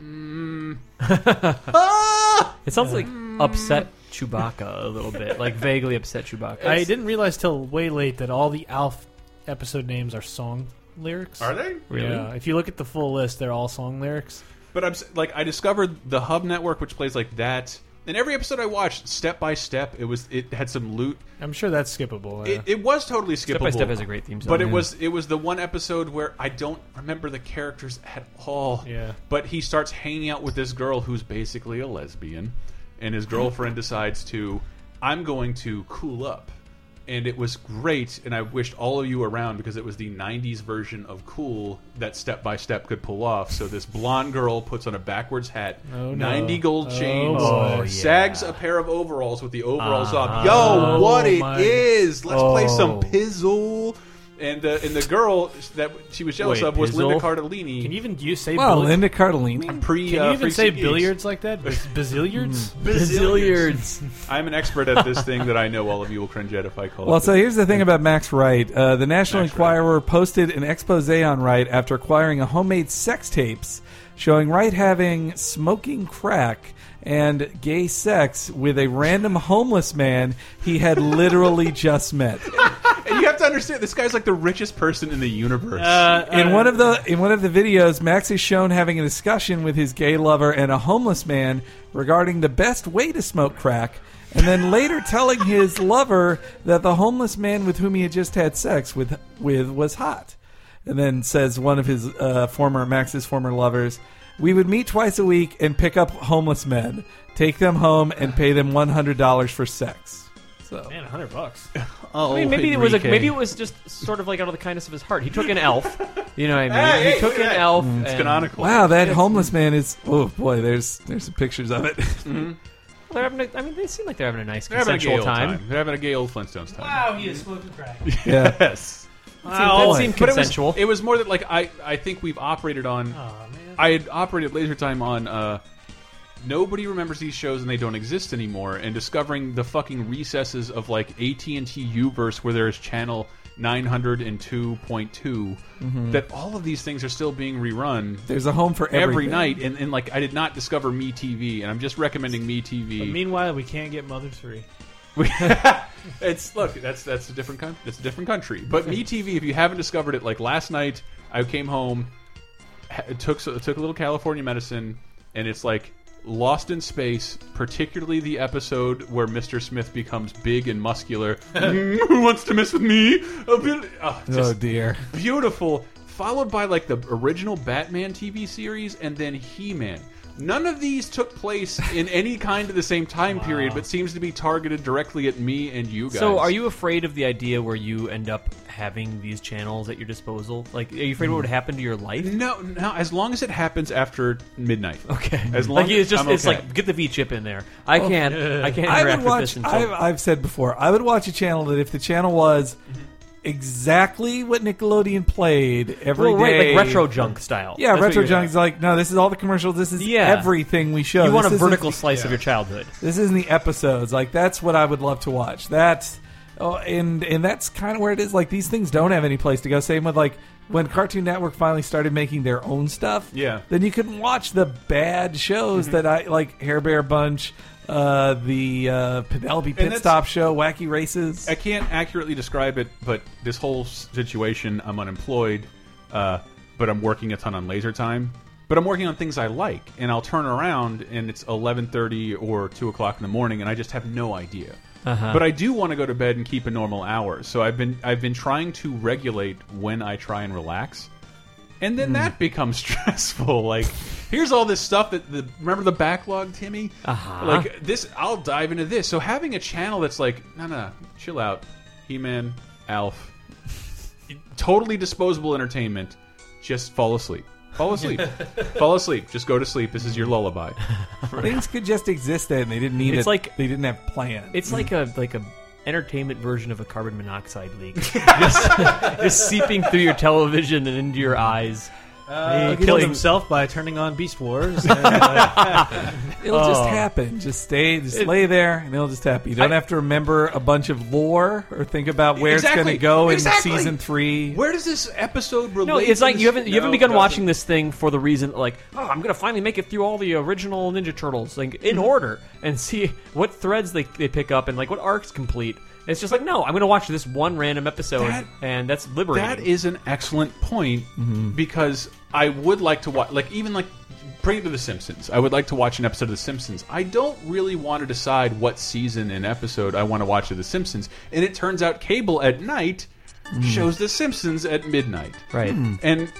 A: Mm. Ah!
E: It sounds like upset Chewbacca a little bit, like vaguely upset Chewbacca.
C: I didn't realize till way late that all the Alf episode names are song lyrics.
A: Are they?
E: really.
C: Yeah. If you look at the full list, they're all song lyrics.
A: But I'm s- like, I discovered the Hub Network, which plays like that. And every episode I watched, step by step, it was it had some loot.
C: I'm sure that's skippable. Uh,
A: It, it was totally skippable.
E: Step by Step has a great theme song,
A: but it
E: yeah.
A: was it was the one episode where I don't remember the characters at all.
C: Yeah.
A: But he starts hanging out with this girl who's basically a lesbian, and his girlfriend
E: *laughs*
A: decides to, I'm going to cool up. And it was great, and I wished all of you around because it was the '90s version of cool that Step by Step could pull off. So this blonde girl puts on a backwards hat,
C: Oh, no.
A: 90 gold
C: Oh,
A: chains,
C: boy.
E: yeah.
A: sags a pair of overalls with the overalls up.
E: Ah.
A: Yo, what
C: Oh,
A: it
C: my-
A: is? Let's play some
E: Oh.
A: pizzle. And the and the girl that she was jealous
E: Wait,
A: of was Linda
E: pizzle?
A: Cardellini.
C: Can you even you say?
B: Wow,
C: billi-
B: Linda Cardellini.
A: pre?
C: Can
A: uh,
C: you even
A: Freaks
C: say
A: and Geeks.
C: billiards like *laughs* that? Biz- Bazilliards.
A: *laughs*
E: Bazilliards.
A: I'm an expert at this thing that I know all of you will cringe at if I call
B: Well,
A: it.
B: so here's the thing about Max Wright. Uh, the National
A: Max Wright.
B: Enquirer posted an expose on Wright after acquiring a homemade sex tapes showing Wright having smoking crack and gay sex with a random homeless man he had literally just met.
A: And you have to understand, this guy's like the richest person in the universe.
E: Uh,
B: In one of the in one of the videos, Max is shown having a discussion with his gay lover and a homeless man regarding the best way to smoke crack, and then later telling his lover that the homeless man with whom he had just had sex with with was hot, and then says one of his uh, former Max's former lovers, "We would meet twice a week and pick up homeless men, take them home, and pay them one hundred dollars for sex." So
C: *laughs* man, hundred bucks.
A: oh,
E: I mean, maybe it was a,
A: Enrique.
E: maybe it was just sort of like out of the kindness of his heart. He took
A: *laughs*
E: an elf, you know what I mean? he took an elf.
A: Mm, it's
E: and-
A: canonical.
B: wow, that homeless man is oh boy, there's there's some pictures of it.
E: Well, They're having a, I mean, they seem like they're having a nice
A: They're having a gay
E: consensual
A: old time.
E: time.
A: They're having a gay old Flintstones time.
C: Wow, he is smoking crack.
B: *laughs* Yeah.
A: Yes.
E: That
C: Wow,
B: boy.
E: seemed
A: But it was-
E: consensual.
A: It was more that like I I think we've operated on.
C: Aw, man.
A: I had operated Laser Time on. uh Nobody remembers these shows and they don't exist anymore. And discovering the fucking recesses of like AT and T Uverse, where there is channel nine hundred and two point two, that all of these things are still being rerun
B: There's a home for
A: every
B: everything.
A: night. And, and like I did not discover Me TV, and I'm just recommending Me TV.
C: Meanwhile, we can't get Mother Three.
A: *laughs* It's look, that's that's a different country. That's a different country. But me TV, if you haven't discovered it, like last night, I came home, ha- took so- took a little California medicine, and it's like Lost in Space, particularly the episode where Mr. Smith becomes big and muscular. Mm, Who wants to mess with me? A bit- ah,
B: Oh
A: just
B: dear.
A: beautiful. Followed by like the original Batman TV series, and then He Man. None of these took
E: *laughs*
A: place in any kind of the same time period, but seems to be targeted directly at me and you guys.
E: So, are you afraid of the idea where you end up having these channels at your disposal? Like, are you afraid
B: Mm.
E: what would happen to your life?
A: No, no. As long as it happens after midnight.
E: *laughs* Okay.
A: As long
E: like, it's just
A: I'm
E: it's
A: okay.
E: like get the V chip in there. I can't. I
B: *laughs*
E: can't
B: Oh, I
E: interact
B: would
E: with this
B: watch.
E: until.
B: I've, I've said before. I would watch a channel that if the channel was exactly what Nickelodeon played every day,
E: well, right, like retro junk style.
B: Yeah,
E: That's what
B: retro
E: you're-
B: junk is like no. This is all the commercials. This is
E: Yeah.
B: everything we show.
E: You want
B: This
E: a
B: isn't
E: vertical
B: the-
E: slice of your childhood.
B: This isn't the episodes. Like that's what I would love to watch. That's oh, and and that's kind of where it is. Like these things don't have any place to go. Same with like when Cartoon Network finally started making their own stuff.
A: Yeah.
B: Then you couldn't watch the bad shows that I like Hair Bear Bunch, uh, the uh, Penelope Pit
A: that's-
B: Stop Show, Wacky Races.
A: I can't accurately describe it, but this whole situation, I'm unemployed, uh, but I'm working a ton on laser time. But I'm working on things I like, and I'll turn around and it's 11:30 or 2 o'clock in the morning, and I just have no idea. But I do want to go to bed and keep a normal hour, so I've been I've been trying to regulate when I try and relax. And
E: Hmm.
A: then that becomes *laughs* stressful. Like, here's all this stuff that the remember the backlog, Timmy. Uh-huh. Like this, I'll dive into this. So having a channel that's like, no, no, chill out, He Man, Alf, totally disposable entertainment. Just fall asleep. Fall
E: *laughs*
A: asleep. fall asleep. Just go to sleep. This is your lullaby.
B: Things could just exist and they didn't need
E: It's
B: it.
E: like-
B: they didn't have plans.
E: It's like a like a entertainment version of a carbon monoxide
B: *laughs*
E: leak, *laughs* just, just seeping through your television and into your eyes.
B: Uh,
C: he killed
E: killing-
C: himself by turning on
B: *laughs*
C: Beast Wars. and, uh,
B: it'll just
A: Oh.
B: happen. Just stay, just lay there, and it'll just happen. You don't have to remember a bunch of lore or think about where
A: Exactly.
B: it's going to go
A: Exactly.
B: in season three.
A: Where does this episode relate?
E: No, it's
A: to
E: like
A: this-
E: you haven't you
A: No,
E: haven't begun
A: doesn't.
E: watching this thing for the reason like oh I'm gonna finally make it through all the original Ninja Turtles like in
A: Mm-hmm.
E: order and see what threads they, they pick up and like what arcs complete. It's just like no, I'm gonna watch this one random episode
A: That-
E: and that's liberating.
A: That is an excellent point because I would like to watch, like even like bring it to The Simpsons. I would like to watch an episode of The Simpsons. I don't really want to decide what season and episode I want to watch of The Simpsons, and it turns out cable at night shows The Simpsons at midnight, Hmm.
E: right.
A: and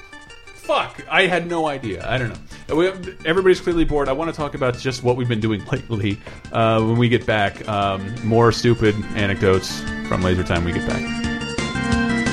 A: fuck, I had no idea. I don't know. We have, everybody's clearly bored. I want to talk about just what we've been doing *laughs* lately. Uh, when we get back, um, more stupid anecdotes from Laser Time. When we get back.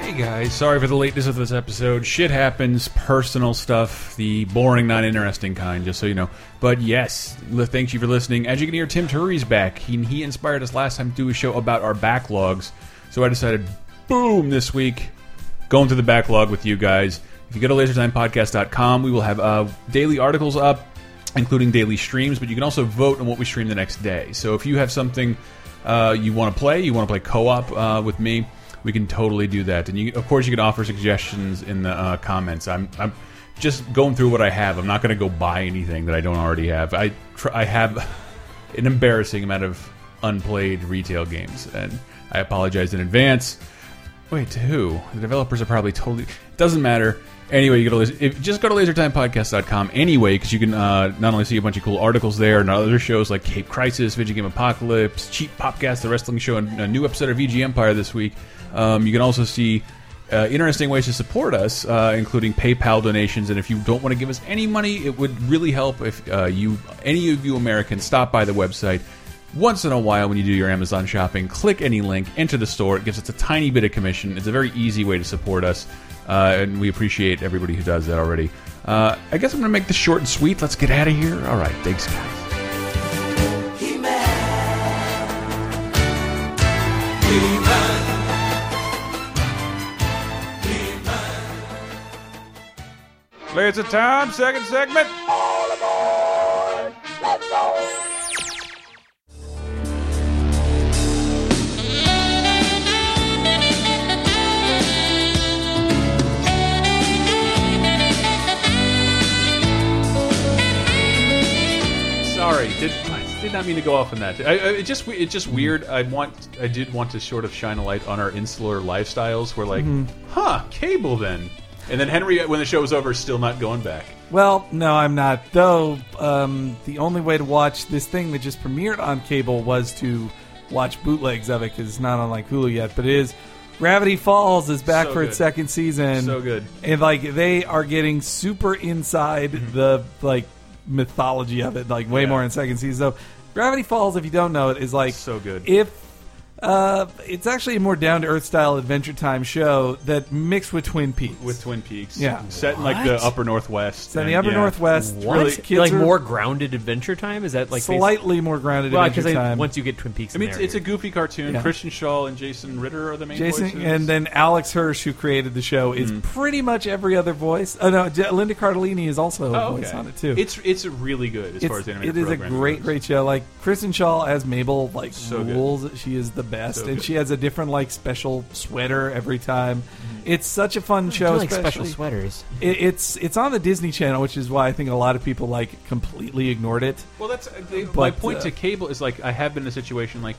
A: Hey guys, sorry for the lateness of this episode. Shit happens, personal stuff, the boring, not interesting kind, just so you know. But yes, li- thank you for listening. As you can hear, Tim Turry's back. He, he inspired us last time to do a show about our backlogs. So I decided, boom, this week, going through the backlog with you guys If you go to laserdesignpodcast.com, we will have uh, daily articles up, including daily streams, but you can also vote on what we stream the next day. So if you have something uh, you want to play, you want to play co op uh, with me, we can totally do that. And you, of course, you can offer suggestions in the uh, comments. I'm, I'm just going through what I have. I'm not going to go buy anything that I don't already have. I, tr I have. an embarrassing amount of unplayed retail games, and I apologize in advance. Wait, to who? The developers are probably totally. It doesn't matter. Anyway, you go to laser, if, just go to lasertimepodcast.com anyway, because you can uh, not only see a bunch of cool articles there and other shows like Cape Crisis, Video Game Apocalypse, Cheap Popcast, The Wrestling Show, and a new episode of VG Empire this week. Um, you can also see uh, interesting ways to support us, uh, including PayPal donations. And if you don't want to give us any money, it would really help if uh, you, any of you Americans, stop by the website once in a while when you do your Amazon shopping. Click any link, enter the store. It gives us a tiny bit of commission. It's a very easy way to support us, uh, and we appreciate everybody who does that already. Uh, I guess I'm going to make this short and sweet. Let's get out of here. All right, thanks, guys.
F: Laser time, second segment.
A: Sorry, did I did not mean to go off on that. I, I, it just it's just weird. I want I did want to sort of shine a light on our insular lifestyles. We're like, huh, cable then, and then Henry when the show was over is still not going back.
B: Well, no, I'm not. Though um, the only way to watch this thing that just premiered on cable was to watch bootlegs of it because it's not on like Hulu yet. But it is. Gravity Falls is back
A: So
B: for its
A: good.
B: second season.
A: So good.
B: and like they are getting super inside the like mythology of it, like
A: Mm-hmm.
B: way
A: Yeah.
B: more in second season. So Gravity Falls, if you don't know it, is like
A: So good.
B: If uh, it's actually a more down to earth style Adventure Time show that mixed with Twin Peaks
A: With Twin Peaks,
B: Yeah.
A: set in like the upper northwest.
B: So in the
A: and-
B: upper
A: yeah.
B: northwest, really kids
E: like
B: are
E: more grounded Adventure Time? Is that like basi-
B: slightly more grounded
E: Well,
B: Adventure
E: because
B: Time.
E: once you get Twin Peaks,
A: I mean, it's, it's a goofy cartoon.
B: Yeah.
A: Christian Shaw and Jason Ritter are the main
B: Jason
A: voices. Mm-hmm.
B: and then Alex Hirsch, who created the show, is pretty much every other voice. Oh no, J- Linda Cardellini is also a
A: oh,
B: voice
A: okay.
B: on it too.
A: It's it's really good as far as animated
B: it is a
A: programming
B: great,
A: goes.
B: great show. Like Kristen Shaw as Mabel, like
A: So good.
B: rules. She is the best,
A: So
B: and
A: good.
B: she has a different like special sweater every time.
A: Mm-hmm.
B: It's such a fun show.
E: like special
B: especially-
E: sweaters.
B: It, it's it's on the Disney Channel, which is why I think a lot of people like completely ignored it.
A: Well, that's they, my
B: But,
A: point
B: uh,
A: to cable is like I have been in a situation like,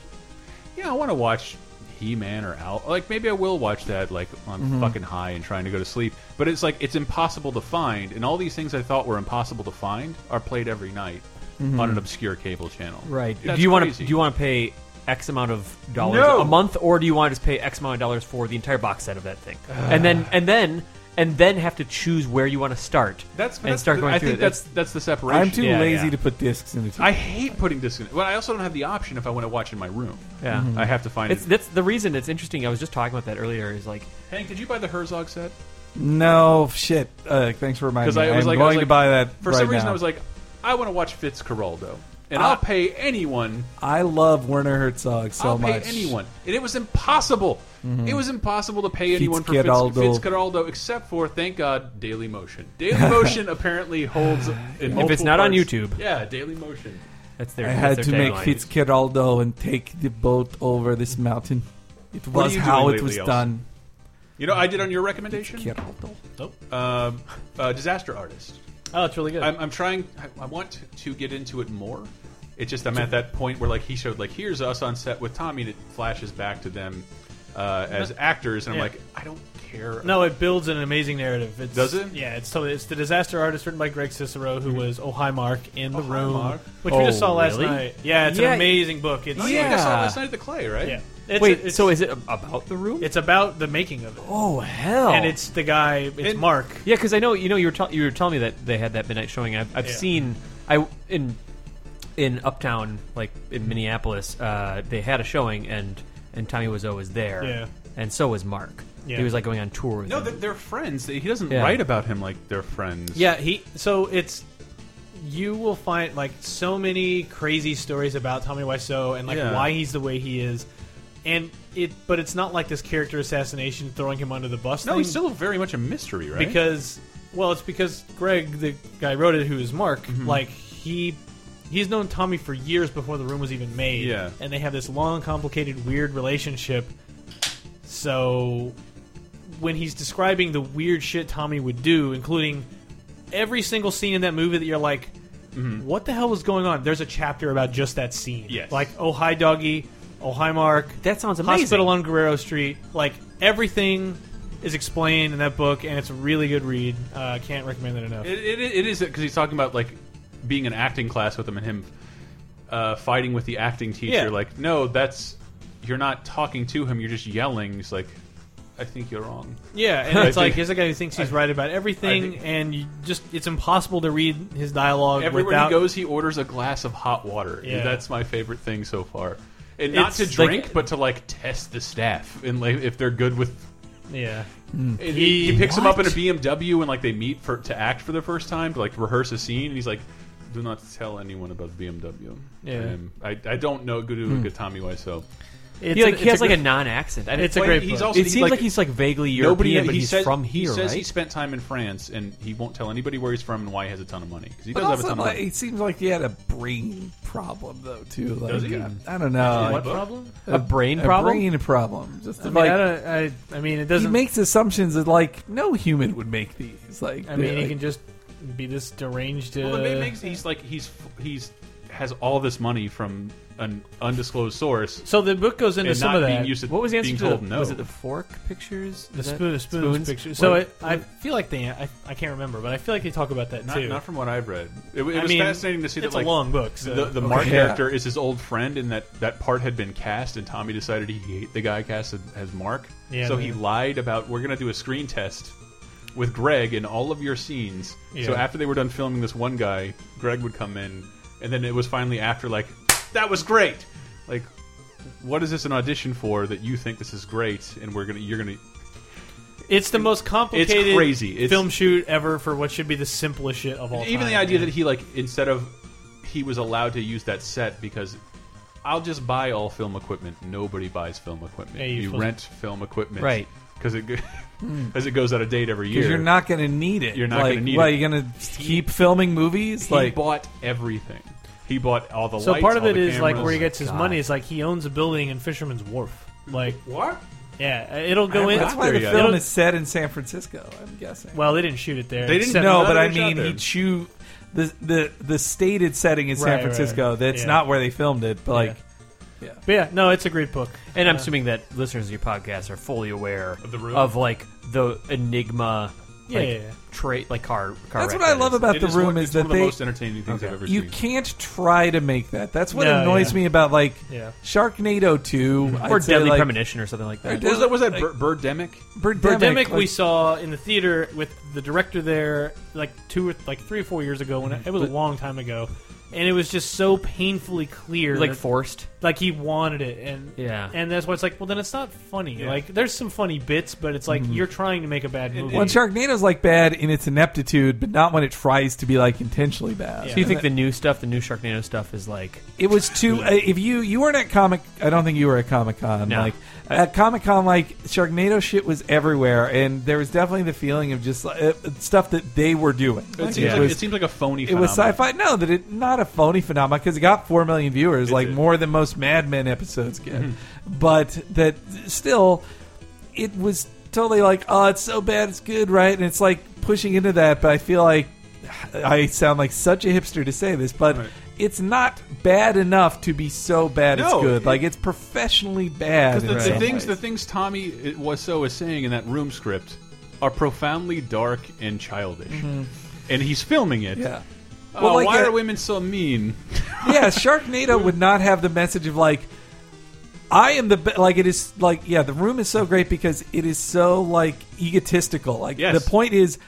A: yeah, I want to watch He Man or Al. Like maybe I will watch that like on
B: Mm-hmm.
A: fucking high and trying to go to sleep. But it's like it's impossible to find, and all these things I thought were impossible to find are played every night
B: Mm-hmm.
A: on an obscure cable channel.
E: Right.
A: That's
E: do you want to
A: crazy.
E: do you want to pay X amount of dollars
A: No.
E: a month, or do you want to just pay X amount of dollars for the entire box set of that thing, and then and then and then have to choose where you want to start
A: That's,
E: and
A: that's
E: start going
A: I
E: through
A: think
E: it.
A: that's that's the separation.
B: I'm too
E: Yeah,
B: lazy
E: yeah.
B: to put discs in the. TV.
A: I hate putting this in. But I also don't have the option if I want to watch in my room.
E: Yeah.
B: Mm-hmm.
E: Mhm.
A: I have to find
E: It's
A: it.
E: that's the reason it's interesting. I was just talking about that earlier. Is like
A: Hank, did you buy the Herzog set?
B: No shit. Uh, thanks for reminding
A: Because
B: me.
A: I was
B: I'm
A: like, I
B: going
A: was
B: to
A: like-
B: buy that
A: For
B: right
A: some reason,
B: now.
A: I was like, I want to watch Fitzcarraldo, and
B: Ah.
A: I'll pay anyone.
B: I love Werner Herzog so
A: I'll pay
B: much. Mm-hmm.
A: anyone, and it was impossible. It was impossible to pay anyone for Fitz,
B: Fitzcarraldo.
A: Fitzcarraldo, except for thank God, Daily Motion. Daily
B: *laughs*
A: Motion apparently holds. In
E: if it's
A: multiple
E: not on
A: parts-
E: YouTube,
A: yeah, Daily Motion.
E: that's their.
B: I
E: that's
B: had
E: their
B: to make
E: tagline.
B: Fitzcarraldo and take the boat over this mountain. It
A: What are
B: was
A: you
B: how
A: doing
B: it
A: lately,
B: was
A: Elsa?
B: done.
A: You know, I did on your recommendation.
B: Fitzcarraldo.
A: Um, uh, disaster artist.
C: Oh, it's really good.
A: I'm, I'm trying. I, I want to get into it more. It's just I'm at that point where like he showed like here's us on set with Tommy, and it flashes back to them uh, as actors, and I'm
C: Yeah.
A: like, I don't care.
C: no, it builds an amazing narrative. It's,
A: Does it?
C: Yeah, it's totally. It's the disaster artist written by Greg Cicero, who was Oh Hi Mark in the
A: Oh Hi
C: room,
A: Mark.
C: which we just
E: Oh,
C: saw last
E: really?
C: night. Yeah, it's
E: Yeah.
C: an amazing book. It's
A: Oh, yeah, I think I saw it
E: Yeah.
A: last night at the Clay, right?
C: yeah. It's,
E: Wait,
C: it's,
E: so is it about the room?
C: it's about the making of it,
E: oh hell!
C: and it's the guy. It's
A: And-
C: Mark.
E: Yeah, because I know you know you were tell you were telling me that they had that midnight showing. I've, I've
C: Yeah.
E: seen I in in Uptown like in Minneapolis. Uh, they had a showing and and Tommy Wiseau was there.
C: Yeah.
E: and so was Mark.
C: Yeah.
E: He was like going on tour with
A: No,
E: them.
A: they're, they're friends. He doesn't
E: Yeah.
A: write about him like they're friends.
C: Yeah, he. So it's you will find like so many crazy stories about Tommy Wiseau and like
A: Yeah.
C: why he's the way he is, and it. But it's not like this character assassination throwing him under the bus.
A: No,
C: thing,
A: he's still very much a mystery, right?
C: because Well, it's because Greg, the guy who wrote it, who is Mark,
A: Mm-hmm.
C: like he he's known Tommy for years before the room was even made.
A: Yeah.
C: and they have this long, complicated, weird relationship. So when he's describing the weird shit Tommy would do, including every single scene in that movie that you're like, what the hell was going on? There's a chapter about just that scene.
A: Mm-hmm. Yes.
C: like oh hi doggy, oh hi Mark.
E: That sounds amazing.
C: Hospital on Guerrero Street. Like everything is explained in that book, and it's a really good read. Uh, can't recommend it enough.
A: It, it, it is because he's talking about like being in acting class with him and him uh, fighting with the acting teacher.
C: Yeah.
A: Like, no, that's you're not talking to him. You're just yelling. He's like, I think you're wrong.
C: yeah, *laughs* and
A: I
C: it's like
A: think-
C: he's a guy who thinks he's right about everything,
A: think-
C: and you just it's impossible to read his dialogue
A: Everywhere
C: without.
A: he goes, he orders a glass of hot water.
C: Yeah.
A: That's my favorite thing so far. And not
C: It's
A: to
C: like-
A: drink, but to like test the staff and like if they're good with.
C: Yeah,
A: and he, he picks him up in a BMW and like they meet for to act for the first time to like rehearse a scene. And he's like, "Do not tell anyone about BMW."
C: Yeah.
A: Um, I, I don't know Guru Gatami why so.
C: it's
E: he, like, he has
C: a
E: like a
C: good-
E: non-accent. I didn't-
C: It's a
E: Wait,
C: great
A: He's
C: book.
A: also
E: It seems like, he's like vaguely European,
A: nobody.
E: but
A: he
E: he's
A: says,
E: from here,
A: He says
E: right?
A: he spent time in France and he won't tell anybody where he's from and why he has a ton of money because he
B: But
A: does have a
B: also,
A: ton
B: like,
A: of money.
B: it seems like he had a brain problem though too. Like,
A: Does he?
B: uh, I don't know.
A: What
B: Like,
A: problem?
E: A brain problem?
B: brain problem. Just
C: I mean,
B: like
C: I, don't, I, I mean, it
B: he
C: doesn't.
B: makes assumptions that like no human would make these. Like uh,
C: I mean,
B: like,
C: he can just be this deranged. Uh,
A: Well, it makes he's like he's he's has all this money from an undisclosed source
C: so the book goes into
A: and
C: some
A: not
C: of
A: being
C: that.
A: used to
E: what was the answer
A: being
E: to the,
A: told no.
E: was it the fork pictures?
C: the
E: Is that-
C: spoon, spoons,
E: spoons?
C: picture. So
E: What-
C: it, I feel like they. I, I can't remember, but I feel like they talk about that
A: not,
C: too.
A: not from what I've read. It, it was
C: I mean,
A: fascinating to see
C: it's
A: that like
C: a long book. So.
A: the, the Mark
B: Okay.
A: character is his old friend, and that that part had been cast, and Tommy decided he hate the guy cast as- as Mark,
C: Yeah,
A: so
C: man.
A: he lied about we're gonna do a screen test with Greg in all of your scenes. So
C: Yeah.
A: after they were done filming this one guy, Greg would come in, and then it was finally after like that was great, like what is this an audition for that you think this is great, and we're gonna you're gonna
C: It's the most complicated
A: crazy. It's-
C: film shoot ever for what should be the simplest shit of all
A: even
C: time.
A: the idea that he like instead of he was allowed to use that set because I'll just buy all film equipment. Nobody buys film equipment.
C: Yeah, you're
A: you
C: supposed-
A: rent film equipment,
E: Right.
A: Because it go- *laughs* as it goes out of date every year.
B: Hmm. Because you're not going to need it.
A: You're not
B: like,
A: gonna need
B: well,
A: it.
B: You're going to keep filming movies.
A: he
B: like
A: bought everything. He bought all the
C: so
A: lights.
C: part of
A: all
C: it
A: the
C: is like
A: cameras.
C: where he gets his
E: God.
C: money is like he owns a building in Fisherman's Wharf. Like
A: what?
C: yeah, it'll go in.
B: that's why
A: there
B: the
A: yet.
B: film
C: It'll-
B: is set in San Francisco. I'm guessing.
C: Well, they didn't shoot it there.
A: They didn't-
C: Set-
B: no, but I
A: another shot
B: mean,
A: there.
B: he chew the the the stated setting in San
C: Right, right.
B: Francisco. That's
C: Yeah.
B: not where they filmed it. But like,
C: but yeah, no, it's a great book.
E: And I'm assuming that listeners of your podcast are fully aware of
A: the room?
E: like the enigma,
C: Yeah,
E: like,
C: yeah, yeah.
E: trait, like car. car
B: that's
E: wreck
B: what I
E: that
B: love
E: is.
B: about
A: It
B: the
A: is
B: room
A: one,
B: is
A: it's
B: that
A: one of the
B: they
A: most entertaining things I've ever
B: you
A: seen.
B: can't try to make that. That's what
C: No,
B: annoys
C: yeah.
B: me about like
C: Yeah. Mm-hmm.
B: Sharknado Two
E: or
B: I'd say,
E: Deadly
B: like,
E: Premonition or something like that.
B: Deadly-
A: was that was that
B: like-
A: Bir- Birdemic?
B: Birdemic.
C: Birdemic
B: like,
C: we saw in the theater with the director there like two or like three or four years ago when it was a long time ago, and it was just so painfully clear
E: like
C: that-
E: forced.
C: like he wanted it and
E: Yeah.
C: and that's why it's like well then it's not funny like there's some funny bits but it's like you're trying to make a bad movie
B: Well, Sharknado's like bad in its ineptitude, but not when it tries to be like intentionally bad.
C: Yeah.
E: Do you think the new stuff, the new Sharknado stuff, is like
B: It was too. Uh, if you you weren't at comic, I don't think you were at Comic Con.
E: No.
B: Like at Comic Con, like Sharknado shit was everywhere, and there was definitely the feeling of just like, uh, stuff that they were doing.
A: It seems,
B: It
A: like,
B: was-
A: it seems like a phony.
B: it was
A: phenomenon.
B: sci-fi. No, that it not a phony phenomenon because it got four million viewers, like
A: did. Mm-hmm.
B: more than most Mad Men episodes get. But that still, it was totally like, oh, it's so bad, it's good, right? And it's like pushing into that. But I feel like I sound like such a hipster to say this, but.
A: Right.
B: It's not bad enough to be so bad it's
A: No,
B: good.
A: it-
B: like it's professionally bad.
A: Because the, the
B: in some
A: things the
B: ways.
A: things Tommy Wiseau is saying in that room script are profoundly dark and childish, and he's filming it.
B: Mm-hmm. yeah.
A: Oh,
B: Well, like uh,
A: why
B: a-
A: are women so mean?
B: yeah, Sharknado would not have the message of like, I am the be-, like it is like yeah, the room is so great because it is so like egotistical. Like
A: Yes.
B: the point is.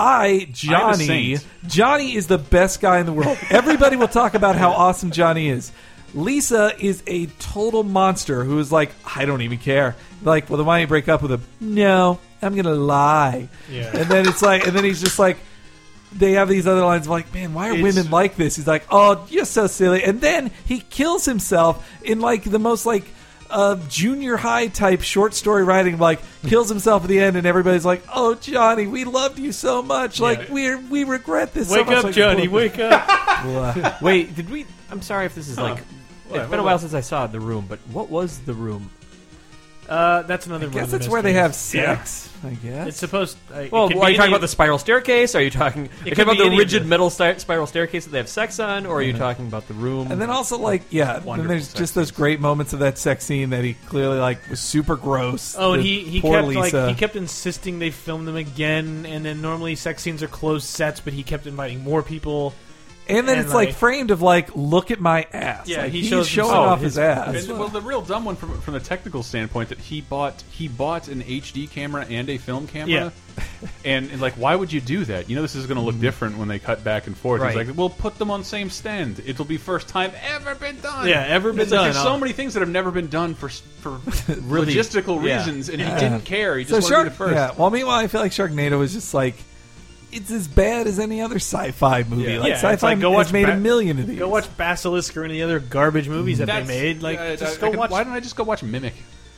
B: I Johnny
A: saint.
B: Johnny is the best guy in the world. Everybody will talk about how awesome Johnny is. Lisa is a total monster who is like, I don't even care. Like, well, then why don't you break up with him? No, I'm gonna lie.
C: Yeah.
B: And then it's like, and then he's just like, they have these other lines of like, man, why are
A: It's-
B: women like this? He's like, oh, you're so silly. And then he kills himself in like the most like of junior high type short story writing. Like
C: Hmm.
B: kills himself at the end, and everybody's like, "Oh, Johnny, we loved you so much. Like we are we regret this. so
C: Wake
B: much."
C: up,
B: Like, *laughs*
C: Johnny.
A: *laughs*
C: Wake up. *laughs*
E: Wait, did we? I'm sorry if this is like. it's been a while since I saw the room, but what was the room?
C: Uh, that's another.
B: I
C: one of
B: guess
C: the
B: that's where they have
C: mysteries.
B: sex. I guess.
C: It's supposed. Uh,
E: Well,
C: it could
E: are
C: be
E: you talking
C: any-
E: about the spiral staircase? Are you talking? Are you
C: could
E: talking about
C: be any
E: the
C: of Mm-hmm.
E: rigid
C: this.
E: metal sti- spiral staircase that they have sex on, or are you talking about the room?
B: And then also like yeah, then
A: Wonderful
B: there's
A: sex
B: just those great moments of that sex scene that he clearly like was super gross.
C: Oh, and
B: The
C: he, he
B: poor
C: kept
B: Lisa.
C: like he kept insisting they film them again, and then normally sex scenes are closed sets, but he kept inviting more people.
B: and then
C: and,
B: it's like
C: like-
B: framed of like look at my ass.
C: Yeah,
B: Like,
C: he
B: he's
C: shows
B: showing
C: himself.
B: off
C: Oh,
B: his,
C: his-
B: ass.
A: And, well, the real dumb one from from the technical standpoint that he bought he bought an HD camera and a film camera. *laughs* And, and like, why would you do that? You know, this is going to
C: Mm-hmm.
A: look different when they cut back and forth. He's
E: Right.
A: like, "We'll put them on same stand. It'll be first time ever been done.
C: Yeah, ever been
A: It's like,
C: done.
A: there's so
C: I'll-
A: many things that have never been done for s-
C: *laughs*
A: for logistical
E: yeah.
A: reasons, and he didn't care. He
B: So
A: just wanted
B: Shark,
A: to be the first.
B: yeah. Well, meanwhile, I feel like Sharknado is just like it's as bad as any other sci-fi movie.
A: Yeah.
B: Like
C: Yeah, it's
B: sci-fi
C: like, go
B: has
C: watch
B: made a
C: Bat-
B: million of these.
C: Go watch Basilisk or any other garbage movies that
A: That's-
C: they made. Like,
A: I-
C: just
A: I-
C: go
A: I could-
C: watch.
A: Why don't I just go watch Mimic?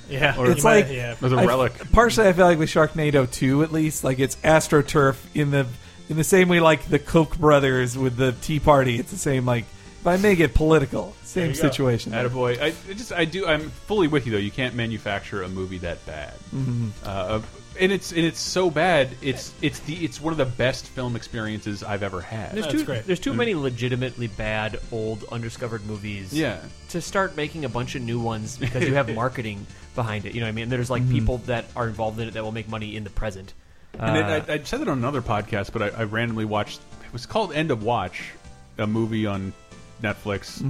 C: yeah,
A: Or-
C: you
B: It's like-
C: might- yeah.
A: As a
B: I-
A: relic.
B: partially, I feel like with Sharknado 2, at least, like it's AstroTurf in the in the same way like the Koch brothers with the Tea Party. It's the same like if I may get political, same situation.
A: Attaboy. I, I just I do. I'm fully with you though. You can't manufacture a movie that bad.
B: Mm-hmm.
A: Uh, and it's and it's so bad. It's it's the it's one of the best film experiences I've ever had.
E: there's
C: That's
E: too
C: great.
E: there's too many legitimately bad old undiscovered movies.
A: Yeah.
E: to start making a bunch of new ones because you have marketing behind it. You know what I mean? There's like people that are involved in it that will make money in the present.
A: And
E: Uh,
A: it, I, I said it on another podcast, but I, I randomly watched. It was called End of Watch, a movie on Netflix.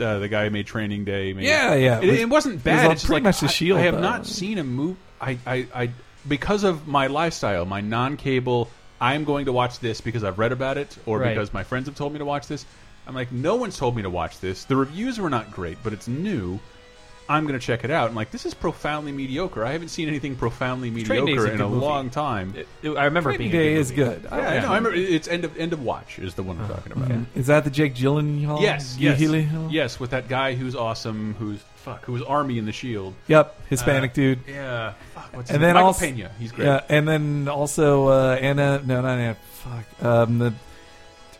A: Uh, the guy who made Training Day. Made,
B: Mm-hmm. Yeah, yeah, it
A: It,
B: was-
A: it wasn't
B: it was
A: bad.
B: on
A: it's
B: pretty
A: like,
B: much The
A: I-
B: Shield,
A: I, have
B: though.
A: not seen a movie. I, I, I because of my lifestyle, my non-cable. I'm going to watch this because I've read about it, or
E: Right.
A: because my friends have told me to watch this. I'm like, no one's told me to watch this. The reviews were not great, but it's new. I'm going to check it out. I'm like, this is profoundly mediocre. I haven't seen anything profoundly
E: Training Day's
A: mediocre
E: a
A: in
E: good
A: a
E: movie.
A: long time.
E: it- it- I remember
B: Training
E: it being a
B: Day is
E: movie.
B: good. I-
A: Yeah, I know. I remember it's end of end of watch is the one
B: Uh,
A: I'm talking about.
B: Is that the Jake Gyllenhaal?
A: Yes, yes,
B: Gyllenhaal?
A: yes. With that guy who's awesome, who's fuck, who was Army in the Shield.
B: Yep, Hispanic dude.
A: Uh, Yeah. Fuck, what's his
B: And
A: name?
B: then
A: Michael
B: also-
A: Pena, he's great.
B: Yeah, and then also uh, Anna. No, not Anna. Fuck. Um, the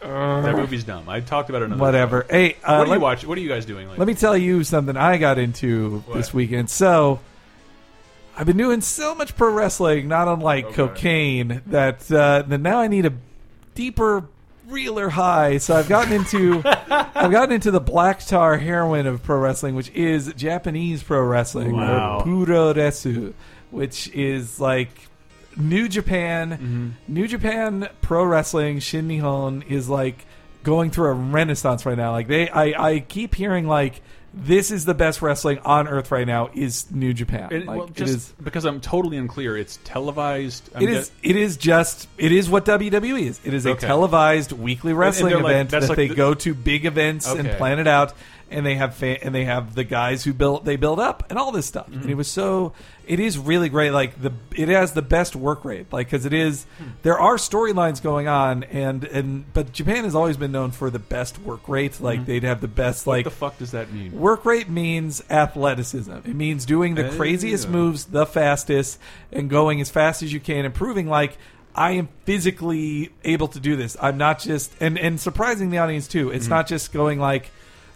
A: That movie's dumb. I talked about it another.
B: whatever. Hey,
A: Time.
B: uh,
A: What are
B: let-
A: you watch? What are you guys doing? Like,
B: Let me tell you something I got into
A: What?
B: this weekend. So I've been doing so much pro wrestling, not unlike
A: Okay.
B: cocaine, that uh, that now I need a deeper, realer high. So I've gotten
A: *laughs*
B: into I've gotten into the black tar heroin of pro wrestling, which is Japanese pro wrestling,
A: Wow.
B: or puroresu, which is like New Japan.
A: Mm-hmm.
B: New Japan Pro Wrestling Shin Nihon is like going through a renaissance right now. Like they, I, I keep hearing like this is the best wrestling on earth right now is New Japan.
A: And,
B: like
A: well,
B: it
A: just
B: is.
A: because I'm totally unclear. It's televised. I'm
B: It is. It is just. It is what WWE is. It is a
A: Okay.
B: televised weekly wrestling
A: they're like-
B: event
A: that's
B: that
A: like
B: they
A: the-
B: go to big events and
A: Okay.
B: plan it out. And they have fa- and they have the guys who built they build up and all this stuff.
A: Mm-hmm.
B: And it was so. It is really great. Like the it has the best work rate. Like because it is there are storylines going on and and but Japan has always been known for the best work rate. Like they'd have the best
A: What
B: like
A: Mm-hmm. the fuck does that mean?
B: Work rate means athleticism. It means doing the craziest
A: Oh.
B: moves the fastest and going as fast as you can and proving like I am physically able to do this. I'm not just and and surprising the audience too.
A: Mm-hmm.
B: It's not just going like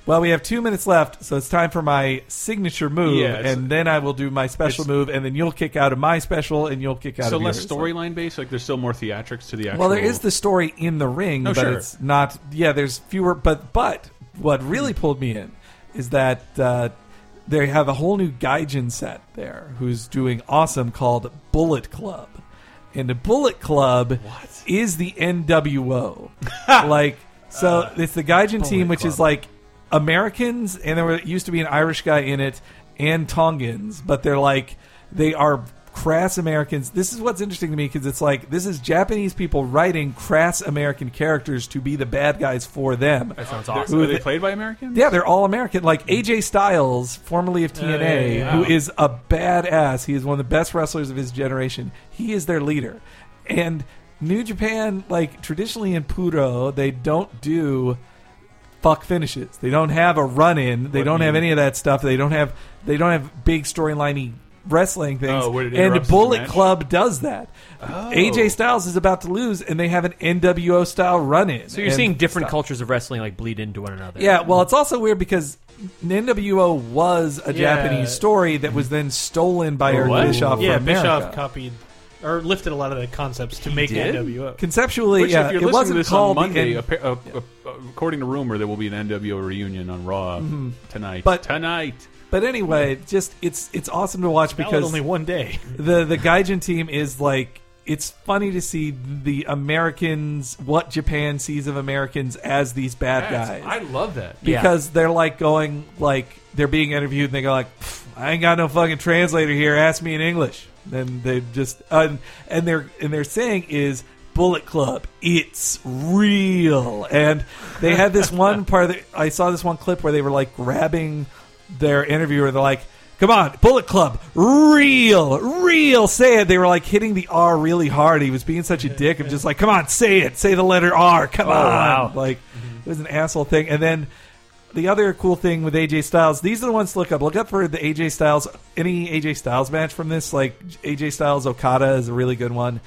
B: well, we have two minutes left, so it's time for my signature move,
A: Yeah, it's-
B: and then I will do my special
A: it's-
B: move, and then you'll kick out of my special, and you'll kick out
A: So
B: of
A: less
B: yours.
A: storyline based. Like there's still more theatrics to the actual.
B: Well, there is the story in the ring,
A: Oh,
B: but
A: sure.
B: it's not. Yeah, there's fewer. But but what really pulled me in is that uh, they have a whole new Gaijin set there, who's doing awesome called Bullet Club, and the Bullet Club is the
A: *laughs*
B: NWO, like so
A: Uh,
B: it's the Gaijin team, which is like Americans, and there were, used to be an Irish guy in it and Tongans, but they're like they are crass Americans. This is what's interesting to me because it's like this is Japanese people writing crass American characters to be the bad guys for them.
E: That sounds
A: Are
E: awesome.
A: they, are they played by Americans?
B: Yeah, they're all American.
A: Hmm.
B: Like AJ Styles, formerly of TNA, who is a badass. He is one of the best wrestlers of his generation. He is their leader. And New Japan, like traditionally in Puro, they don't do fuck finishes. They don't have a run in. They don't have any of that stuff. They don't have they don't have big storyliney wrestling things.
A: Oh, where it
B: and
A: interrupts the
B: Bullet
A: match?
B: Club does that.
A: Oh.
B: AJ Styles is about to lose, and they have an NWO style run in.
E: So you're seeing different cultures of wrestling like bleed into one another.
B: Yeah, well, it's also weird because NWO was a
C: Yeah.
B: Japanese story that was then stolen by Eric
A: what?
B: Bischoff
C: yeah,
B: for America.
C: Bischoff copied or lifted a lot of the concepts to make
A: did?
C: NWO.
B: Conceptually,
A: Which,
B: yeah,
A: if you're
B: it
A: listening
B: wasn't
A: to this
B: called
A: on
B: the
A: Monday,
B: N-
A: appa- uh, uh, uh, according to rumor, there will be an NWO reunion on Raw tonight.
B: Mm-hmm. But-
A: tonight,
B: but anyway, just it's it's awesome to watch
C: Valid
B: because
C: only one day.
B: the the Gaijin team is like it's funny to see the Americans what Japan sees of Americans as these bad guys
A: I love that.
E: Yeah.
B: because they're like going like they're being interviewed and they go like "Pff, I ain't got no fucking translator here. Ask me in English. Then they just uh, and they're and they're saying is Bullet Club. It's real. And they had this one part. That, I saw this one clip where they were like grabbing their interviewer. They're like. Come on, Bullet Club, real, real, say it. They were like hitting the R really hard. He was being such a dick of just like, come on, say it, say the letter R, come on.
E: wow.
B: Like, it was an asshole thing. And then the other cool thing with AJ Styles, these are the ones to look up. Look up for the AJ Styles, any AJ Styles match from this. Like AJ Styles Okada is a really good one.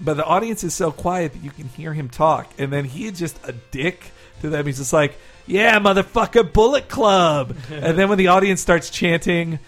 B: But the audience is so quiet that you can hear him talk. And then he is just a dick to them. He's just like, yeah, motherfucker, Bullet Club. and then when the audience starts chanting,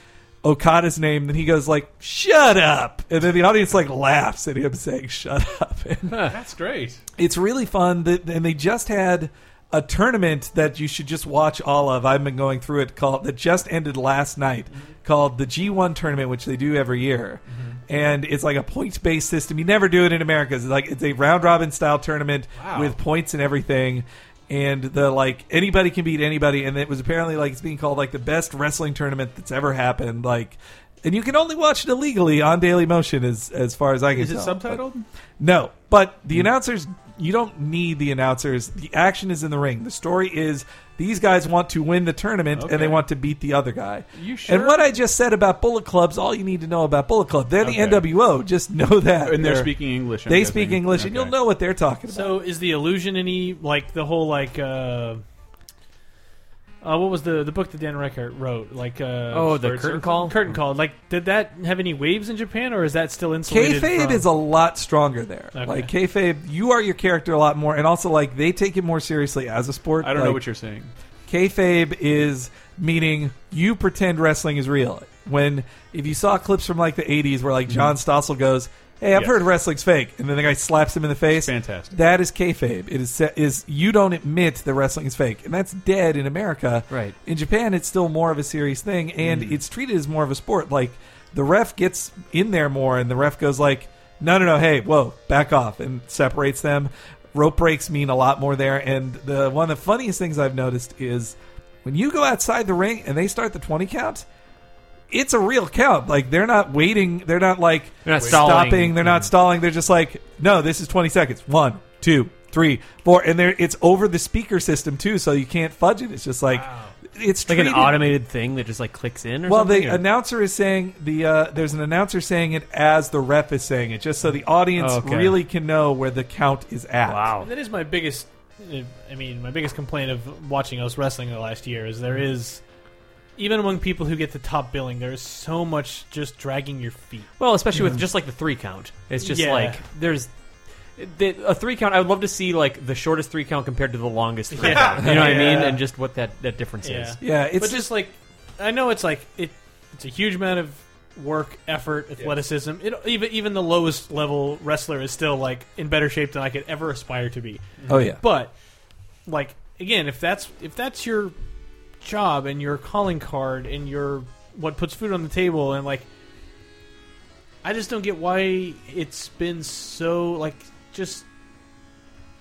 B: Okada's name, then he goes like, "Shut up!" and then the audience like laughs at him saying, "Shut up." *laughs* *laughs* And
A: That's great.
B: it's really fun that, and they just had a tournament that you should just watch all of i've been going through it called that just ended last night
A: Mm-hmm.
B: called the g1 tournament which they do every year and it's like a points based system you never do it in america it's like it's a round robin style tournament
A: Wow.
B: with points and everything and the like anybody can beat anybody and it was apparently like it's being called like the best wrestling tournament that's ever happened like and you can only watch it illegally on Daily Motion, as as far as I can
A: Is it
B: tell. But-
A: subtitled?
B: no, but
A: Hmm.
B: the announcers, you don't need the announcers. The action is in the ring. The story is these guys want to win the tournament
A: Okay.
B: and they want to beat the other guy.
A: You sure?
B: And what I just said about Bullet Club's all you need to know about Bullet Club. They're
A: Okay.
B: the NWO. Just know that.
A: And they're speaking English. I'm
B: They
A: guessing.
B: speak English, and
A: Okay.
B: you'll know what they're talking about.
C: So is the illusion any like the whole like uh, uh what was the the book that Dan Reichert wrote like uh
E: Oh, the
A: Bird
E: curtain
A: surfing?
E: call.
C: curtain call like did that have any waves in Japan or is that still insulated?
B: Kayfabe
C: from-
B: is a lot stronger there.
C: Okay.
B: Like kayfabe, you are your character a lot more, and also like they take it more seriously as a sport.
A: I don't know
B: Like,
A: what you're saying.
B: Kayfabe is meaning you pretend wrestling is real. When if you saw clips from like the '80s where like John Stossel goes, "Hey, I've
A: Yes.
B: heard wrestling's fake," and then the guy slaps him in the face.
A: Fantastic.
B: That is kayfabe. It is se- is you don't admit that wrestling is fake, and that's dead in America.
E: Right.
B: In Japan, it's still more of a serious thing, and
E: Mm.
B: it's treated as more of a sport. Like the ref gets in there more, and the ref goes like, "No, no, no, hey, whoa, back off," and separates them. Rope breaks mean a lot more there, and the one of the funniest things I've noticed is when you go outside the ring and they start the twenty count. It's a real count. Like they're not waiting. They're not like
E: They're not
B: stopping.
E: stalling.
B: They're not stalling. They're just like, no, this is 20 seconds. One, two, three, four. And there, it's over the speaker system, too, so you can't fudge it. It's just like, it's
E: like an
B: treated-
E: automated thing that just like clicks in. Or
B: Well, the
E: something, or-
B: announcer is saying the uh, there's an announcer saying it as the ref is saying it, just so the audience
E: Oh, okay.
B: really can know where the count is at.
E: wow.
C: That is my biggest. uh, I mean, my biggest complaint of watching us wrestling the last year is there is, even among people who get the top billing, there is so much just dragging your feet.
E: Well, especially with just like the three count, it's just
C: Yeah.
E: like there's. The, a three count. I would love to see like the shortest three count compared to the longest three
C: Yeah.
E: count. You know what I mean?
C: Yeah.
E: And just what that that difference is.
B: Yeah, it's
C: but just like, I know it's like it. It's a huge amount of work, effort, athleticism. It even even the lowest level wrestler is still like in better shape than I could ever aspire to be.
B: oh yeah.
C: But like again, if that's if that's your job and your calling card and your what puts food on the table and like I just don't get why it's been so like just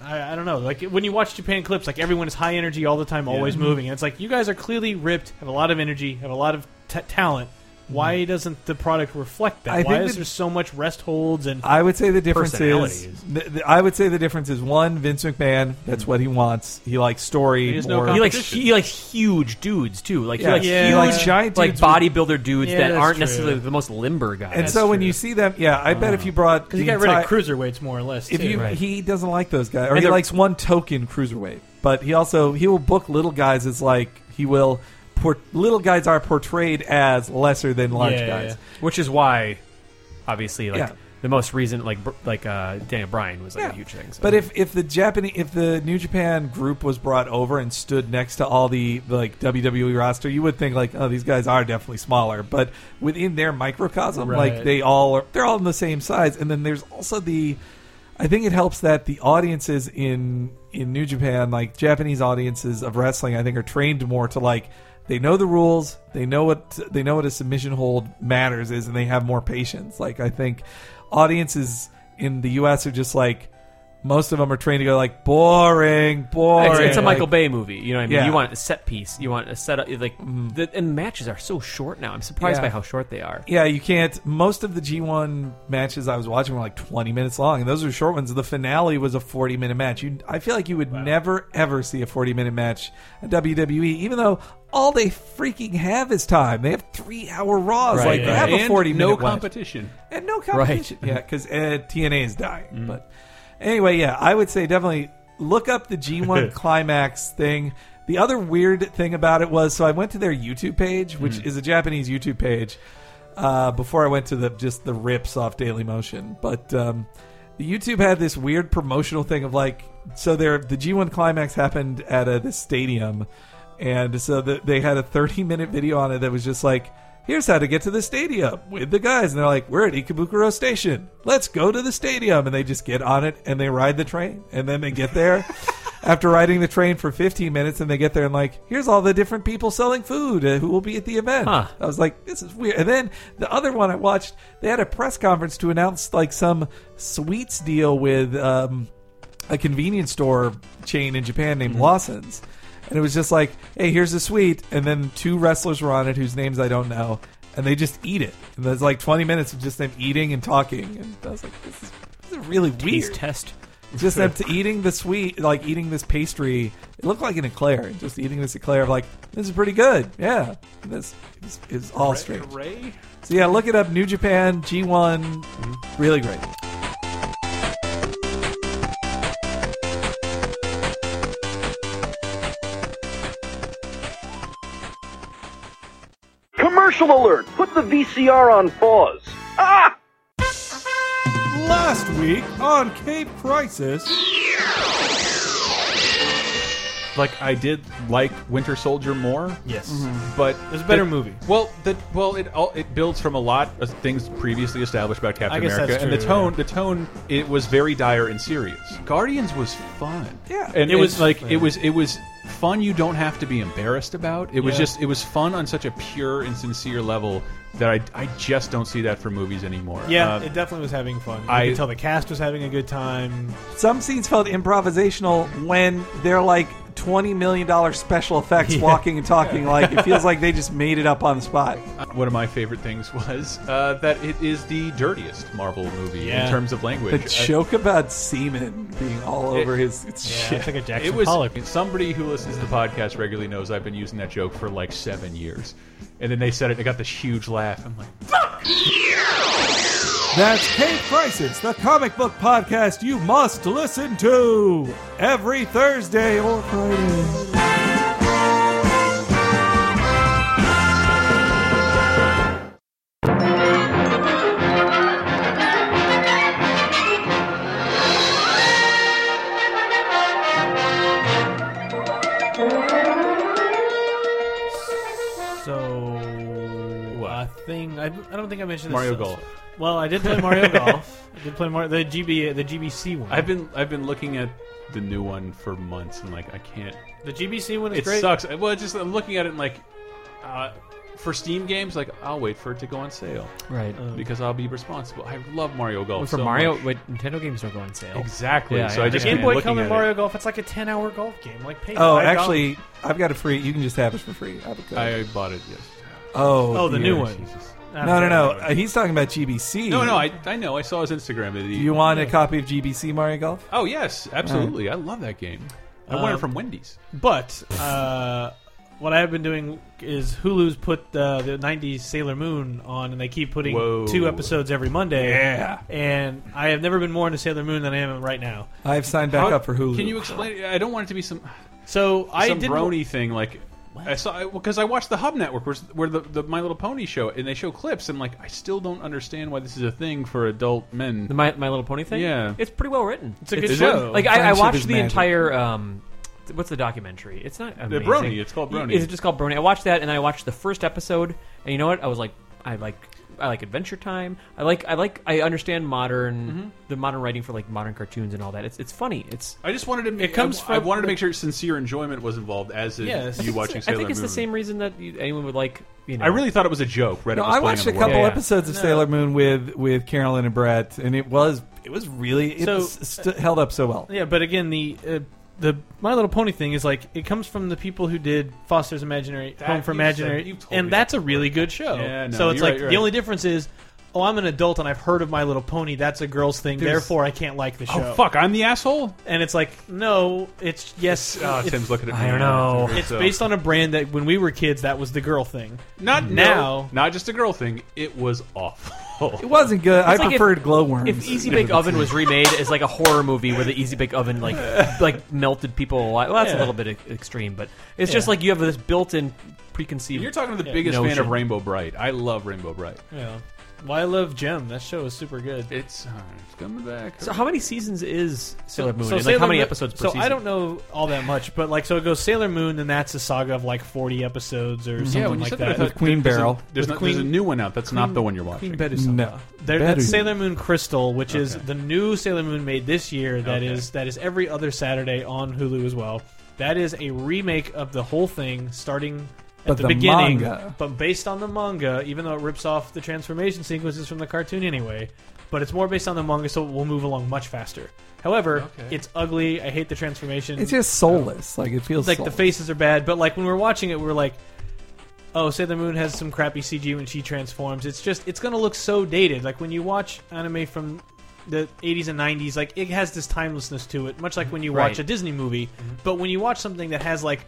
C: I, I don't know like when you watch Japan clips like everyone is high energy all the time always moving and it's like you guys are clearly ripped have a lot of energy have a lot of t- talent Why doesn't the product reflect that?
B: Mm-hmm. I
C: Why
B: think
C: is
B: that-
C: there so much rest holds and
B: I would say the difference
E: Personality
B: is.
E: is-
B: th- th- I would say the difference is one Vince McMahon. That's what he wants. He likes story.
A: There's no
B: more-
E: He likes
A: competition.
E: he likes huge dudes too. Like
B: Yeah.
E: he likes
C: Yeah.
E: huge,
C: He likes
B: giant
E: like
B: dudes
E: bodybuilder dudes
C: Yeah,
E: that
C: that's
E: aren't
C: true.
E: necessarily the most limber guys.
B: and so when you see them, yeah, I bet
C: Uh-huh.
B: if you brought
C: because he
B: the
C: got rid of
B: entire-
C: cruiserweights more or less.
B: if
C: too.
B: you
E: Right.
B: he doesn't like those guys or
E: And
B: he
E: they're-
B: likes one token cruiserweight but he also he will book little guys as like he will port, little guys are portrayed as lesser than large
C: Yeah, yeah,
B: guys
E: which is why, obviously, like
B: Yeah.
E: the most recent, like br- like uh, Daniel Bryan was like
B: Yeah.
E: a huge thing. so-
B: but if if the japanese if the new japan group was brought over and stood next to all the like wwe roster you would think like oh these guys are definitely smaller but within their microcosm like
C: Right.
B: they all are they're all in the same size and then there's also the I think it helps that the audiences in in New Japan, like Japanese audiences of wrestling, I think are trained more to like they know the rules, they know what they know what a submission hold matters is, and they have more patience. Like I think audiences in the U.S. are just like most of them are trained to go like boring, boring.
E: it's, it's a
B: Like,
E: Michael Bay movie, you know what I mean?
B: Yeah. Mm-hmm.
E: You want a set piece, you want a setup. Like the and matches are so short now. I'm surprised
B: Yeah.
E: by how short they are.
B: Yeah, you can't. Most of the G1 matches I was watching were like 20 minutes long, and those were short ones. The finale was a 40 minute match. You, I feel like you would never, ever see a 40 minute match at WWE, E, even though all they freaking have is time. They have three hour Raws.
E: Right,
B: like, they
E: right.
B: have a
A: And
B: 40 minute
A: no
B: match.
A: competition.
B: And no competition. Yeah, because uh, TNA is dying. But anyway, yeah, I would say definitely look up the G1 climax thing. The other weird thing about it was so I went to their YouTube page, which is a Japanese YouTube page, uh, before I went to the just the rips off Daily Motion. But um, the YouTube had this weird promotional thing of like, so their the G1 climax happened at uh this stadium. And so the, they had a 30 minute video on it that was just like, here's how to get to the stadium with the guys. And they're like, we're at Ikebukuro Station. Let's go to the stadium. And they just get on it and they ride the train. And then they get there after riding the train for 15 minutes. And they get there and like, here's all the different people selling food uh, who will be at the event.
E: Huh.
B: I was like, this is weird. And then the other one I watched, they had a press conference to announce like some sweets deal with. Um, a convenience store chain in Japan named Lawson's. And it was just like, hey, here's a sweet. And then two wrestlers were on it whose names I don't know. And they just eat it. And there's like 20 minutes of just them eating and talking. And I was like, this is, this is really
E: Taste
B: weird.
E: test.
B: just them to eating the sweet, like eating this pastry. It looked like an eclair. Just eating this eclair of like, this is pretty good. Yeah. And this is, is all strange.
A: Hooray.
B: So yeah, look it up. New Japan G1. Really great.
G: Commercial alert! Put the VCR on pause. Ah!
B: Last week on Cape Crisis.
A: Like I did like Winter Soldier more,
C: yes,
B: Mm-hmm.
A: but
C: It's a better
A: the-
C: movie.
A: Well, the, well, it all it builds from a lot of things previously established about Captain
C: I guess
A: America,
C: that's
A: and the
C: true,
A: tone, the tone, it was very dire and serious. Guardians was fun,
B: Yeah.
A: and
C: It
A: it was
C: was
A: like
C: fun.
A: it was it was fun. You don't have to be embarrassed about. It was
C: Yeah.
A: just it was fun on such a pure and sincere level that I I just don't see that for movies anymore.
C: yeah,
A: Um,
C: it definitely was having fun. You
A: I-
C: could tell the cast was having a
A: *laughs*
C: good time.
B: Some scenes felt improvisational when they're like $20 million special effects walking and *laughs* talking. Like, it feels like they just made it up on the spot.
A: One of my favorite things *laughs* was uh, that it is the dirtiest Marvel movie
C: Yeah.
A: in terms of language.
B: The
A: Uh,
B: joke about semen being all over his it's
C: Yeah,
B: shit.
C: it's like a Jackson
A: It was
C: Pollock.
A: somebody who listens to the podcast regularly knows I've been using that joke for like seven years, and then they said it. and I got this huge laugh. I'm like,
B: That's Cape Crisis, the comic book podcast you must listen to every Thursday or Friday.
C: So a thing I, I don't think I mentioned
A: Mario
C: this
A: Golf.
C: Well, I did play
A: *laughs*
C: Mario Golf. I did play Mario, the GB the GBC one.
A: I've been I've been looking at the new one for months, and like I can't.
C: the GBC one is
A: it
C: great.
A: sucks. Well, it's just I'm looking at it and like, uh, for Steam games, like I'll wait for it to go on sale
E: Right.
B: Uh,
A: because I'll be responsible. I love Mario Golf.
E: for
A: so
E: Mario,
A: much.
E: wait, Nintendo games don't go on sale.
A: exactly.
E: Yeah,
A: so
E: yeah.
A: I
E: The
C: The
A: just
C: Game
A: been
C: Boy
A: looking
C: Color
A: at
C: Mario
A: It.
C: Golf. It's like a ten-hour golf game. Like
B: *laughs*
C: pay
B: Oh,
C: $5.
B: actually, I've got a free. You can just have it for free. I have a code.
A: I bought it. Yes.
B: Oh,
C: Oh, the
B: dear.
C: new one.
A: Jesus.
B: No, no, no. Uh, he's talking about GBC.
A: No, no, I, I know. I saw his Instagram. That he,
B: You want a copy of GBC Mario Golf?
A: Oh yes, absolutely. I love that game. I want it from Wendy's.
C: But uh, what I've been doing is Hulu's put uh, the '90s Sailor Moon on, and they keep putting
A: Whoa.
C: two episodes every Monday.
A: Yeah.
C: And I have never been more into Sailor Moon than I am right now.
B: I've signed back up for Hulu.
A: Can you explain? I don't want it to be some
C: So I
A: some
C: did
A: brony thing like. I saw because I watched the Hub Network, where, where the, the My Little Pony show, and they show clips, and like I still don't understand why this is a thing for adult men.
E: The My, My Little Pony thing.
A: Yeah.
E: it's pretty well written. It's
C: a good
A: Is it?
C: show.
E: Like I, I
B: Friendship
E: watched
B: is
E: the
B: magic.
E: entire. Um, th- what's the documentary? It's not amazing.
A: Uh, Brony, it's called
E: Y-
A: Brony.
E: Is it just called Brony? I watched that, and then I watched the first episode, and you know what? I was like, I like. I like Adventure Time. I like. I like. I understand modern,
A: Mm-hmm.
E: the modern writing for like modern cartoons and all that. It's it's funny. It's
A: I just wanted to. It
C: comes
A: I, I
C: from-
A: wanted to make sure sincere enjoyment was involved, as in
C: Yes. I
A: you
C: think
A: watching
E: I
A: Sailor
E: think it's
A: Moon.
E: the same reason that you, anyone would like. You know,
A: I really thought it was a joke. Reddit
B: No,
A: was
B: I
A: playing
B: watched
A: on
B: a
A: the
B: couple
A: world.
E: Yeah, yeah.
B: episodes of Sailling Sailor Moon with with Carolyn and Brett, and it was it was really it
C: So-
B: s- st- held up so well.
C: Yeah, but again, the uh, the My Little Pony thing is like it comes from the people who did Foster's Imaginary Home for
A: you've
C: Imaginary,
A: said- you've told me
C: and that's
A: that
C: a really good show.
A: Yeah, no,
C: so it's
A: you're
C: like
A: right, you're
C: the
A: right.
C: only difference is, oh, I'm an adult and I've heard of My Little Pony. That's a girl's thing. therefore, I can't like the show.
A: Oh fuck! I'm the asshole.
C: And it's like, no, it's
A: *laughs*
C: yes,
A: Oh,
C: it's,
A: Tim's looking at me.
E: I don't know.
C: it's based on a brand that when we were kids, that was the girl thing.
A: not
C: now.
A: now, not just a girl thing. It was awful.
B: It wasn't good. I
E: like if-
B: preferred glowworms.
E: If Easy Bake Oven was remade as like a horror movie where the Easy Bake
C: *laughs*
E: Oven like like melted people alive, well, that's
C: Yeah.
E: a little bit e- extreme, but it's just
C: Yeah.
E: like you have this built-in preconceived.
A: You're talking to the biggest fan
E: Notion.
A: of Rainbow Bright. I love Rainbow Bright.
C: Yeah. Why I love Gem. That show is super good.
A: It's, uh, it's coming back.
E: so how many seasons is Sailor Moon?
C: So
E: and, like,
C: Sailor
E: how many
C: Moon-
E: episodes per
C: so
E: season?
C: I don't know all that much, but like, so it goes Sailor Moon, then that's a saga of like forty episodes or something
A: yeah, when you
C: like
A: said
C: that.
A: that, I thought
B: Queen
A: there's a-
B: Barrel.
A: There's,
C: With
A: not- there's a
C: Queen-
A: new one out. That's not the one you're watching.
B: no,
C: There,
B: Better.
C: that's Sailor Moon Crystal, which is the new Sailor Moon made this year. That is
A: Okay.
C: that is every other Saturday on Hulu as well. That is a remake of the whole thing, starting at
B: But
C: the,
B: the
C: beginning,
B: manga.
C: but based on the manga. Even though it rips off the transformation sequences from the cartoon anyway, but it's more based on the manga, so it will move along much faster. However,
A: Okay.
C: it's ugly. I hate the transformation.
B: it's just soulless. Like it feels
C: like the
B: soulless.
C: faces are bad, but like when we we're watching it, we we're like, oh, Sailor Moon has some crappy CG when she transforms. It's just it's gonna look so dated. Like when you watch anime from the 80s and 90s, like it has this timelessness to it, much like when you
A: Mhm.
C: watch
E: Right.
C: a Disney movie. But when you watch something that has like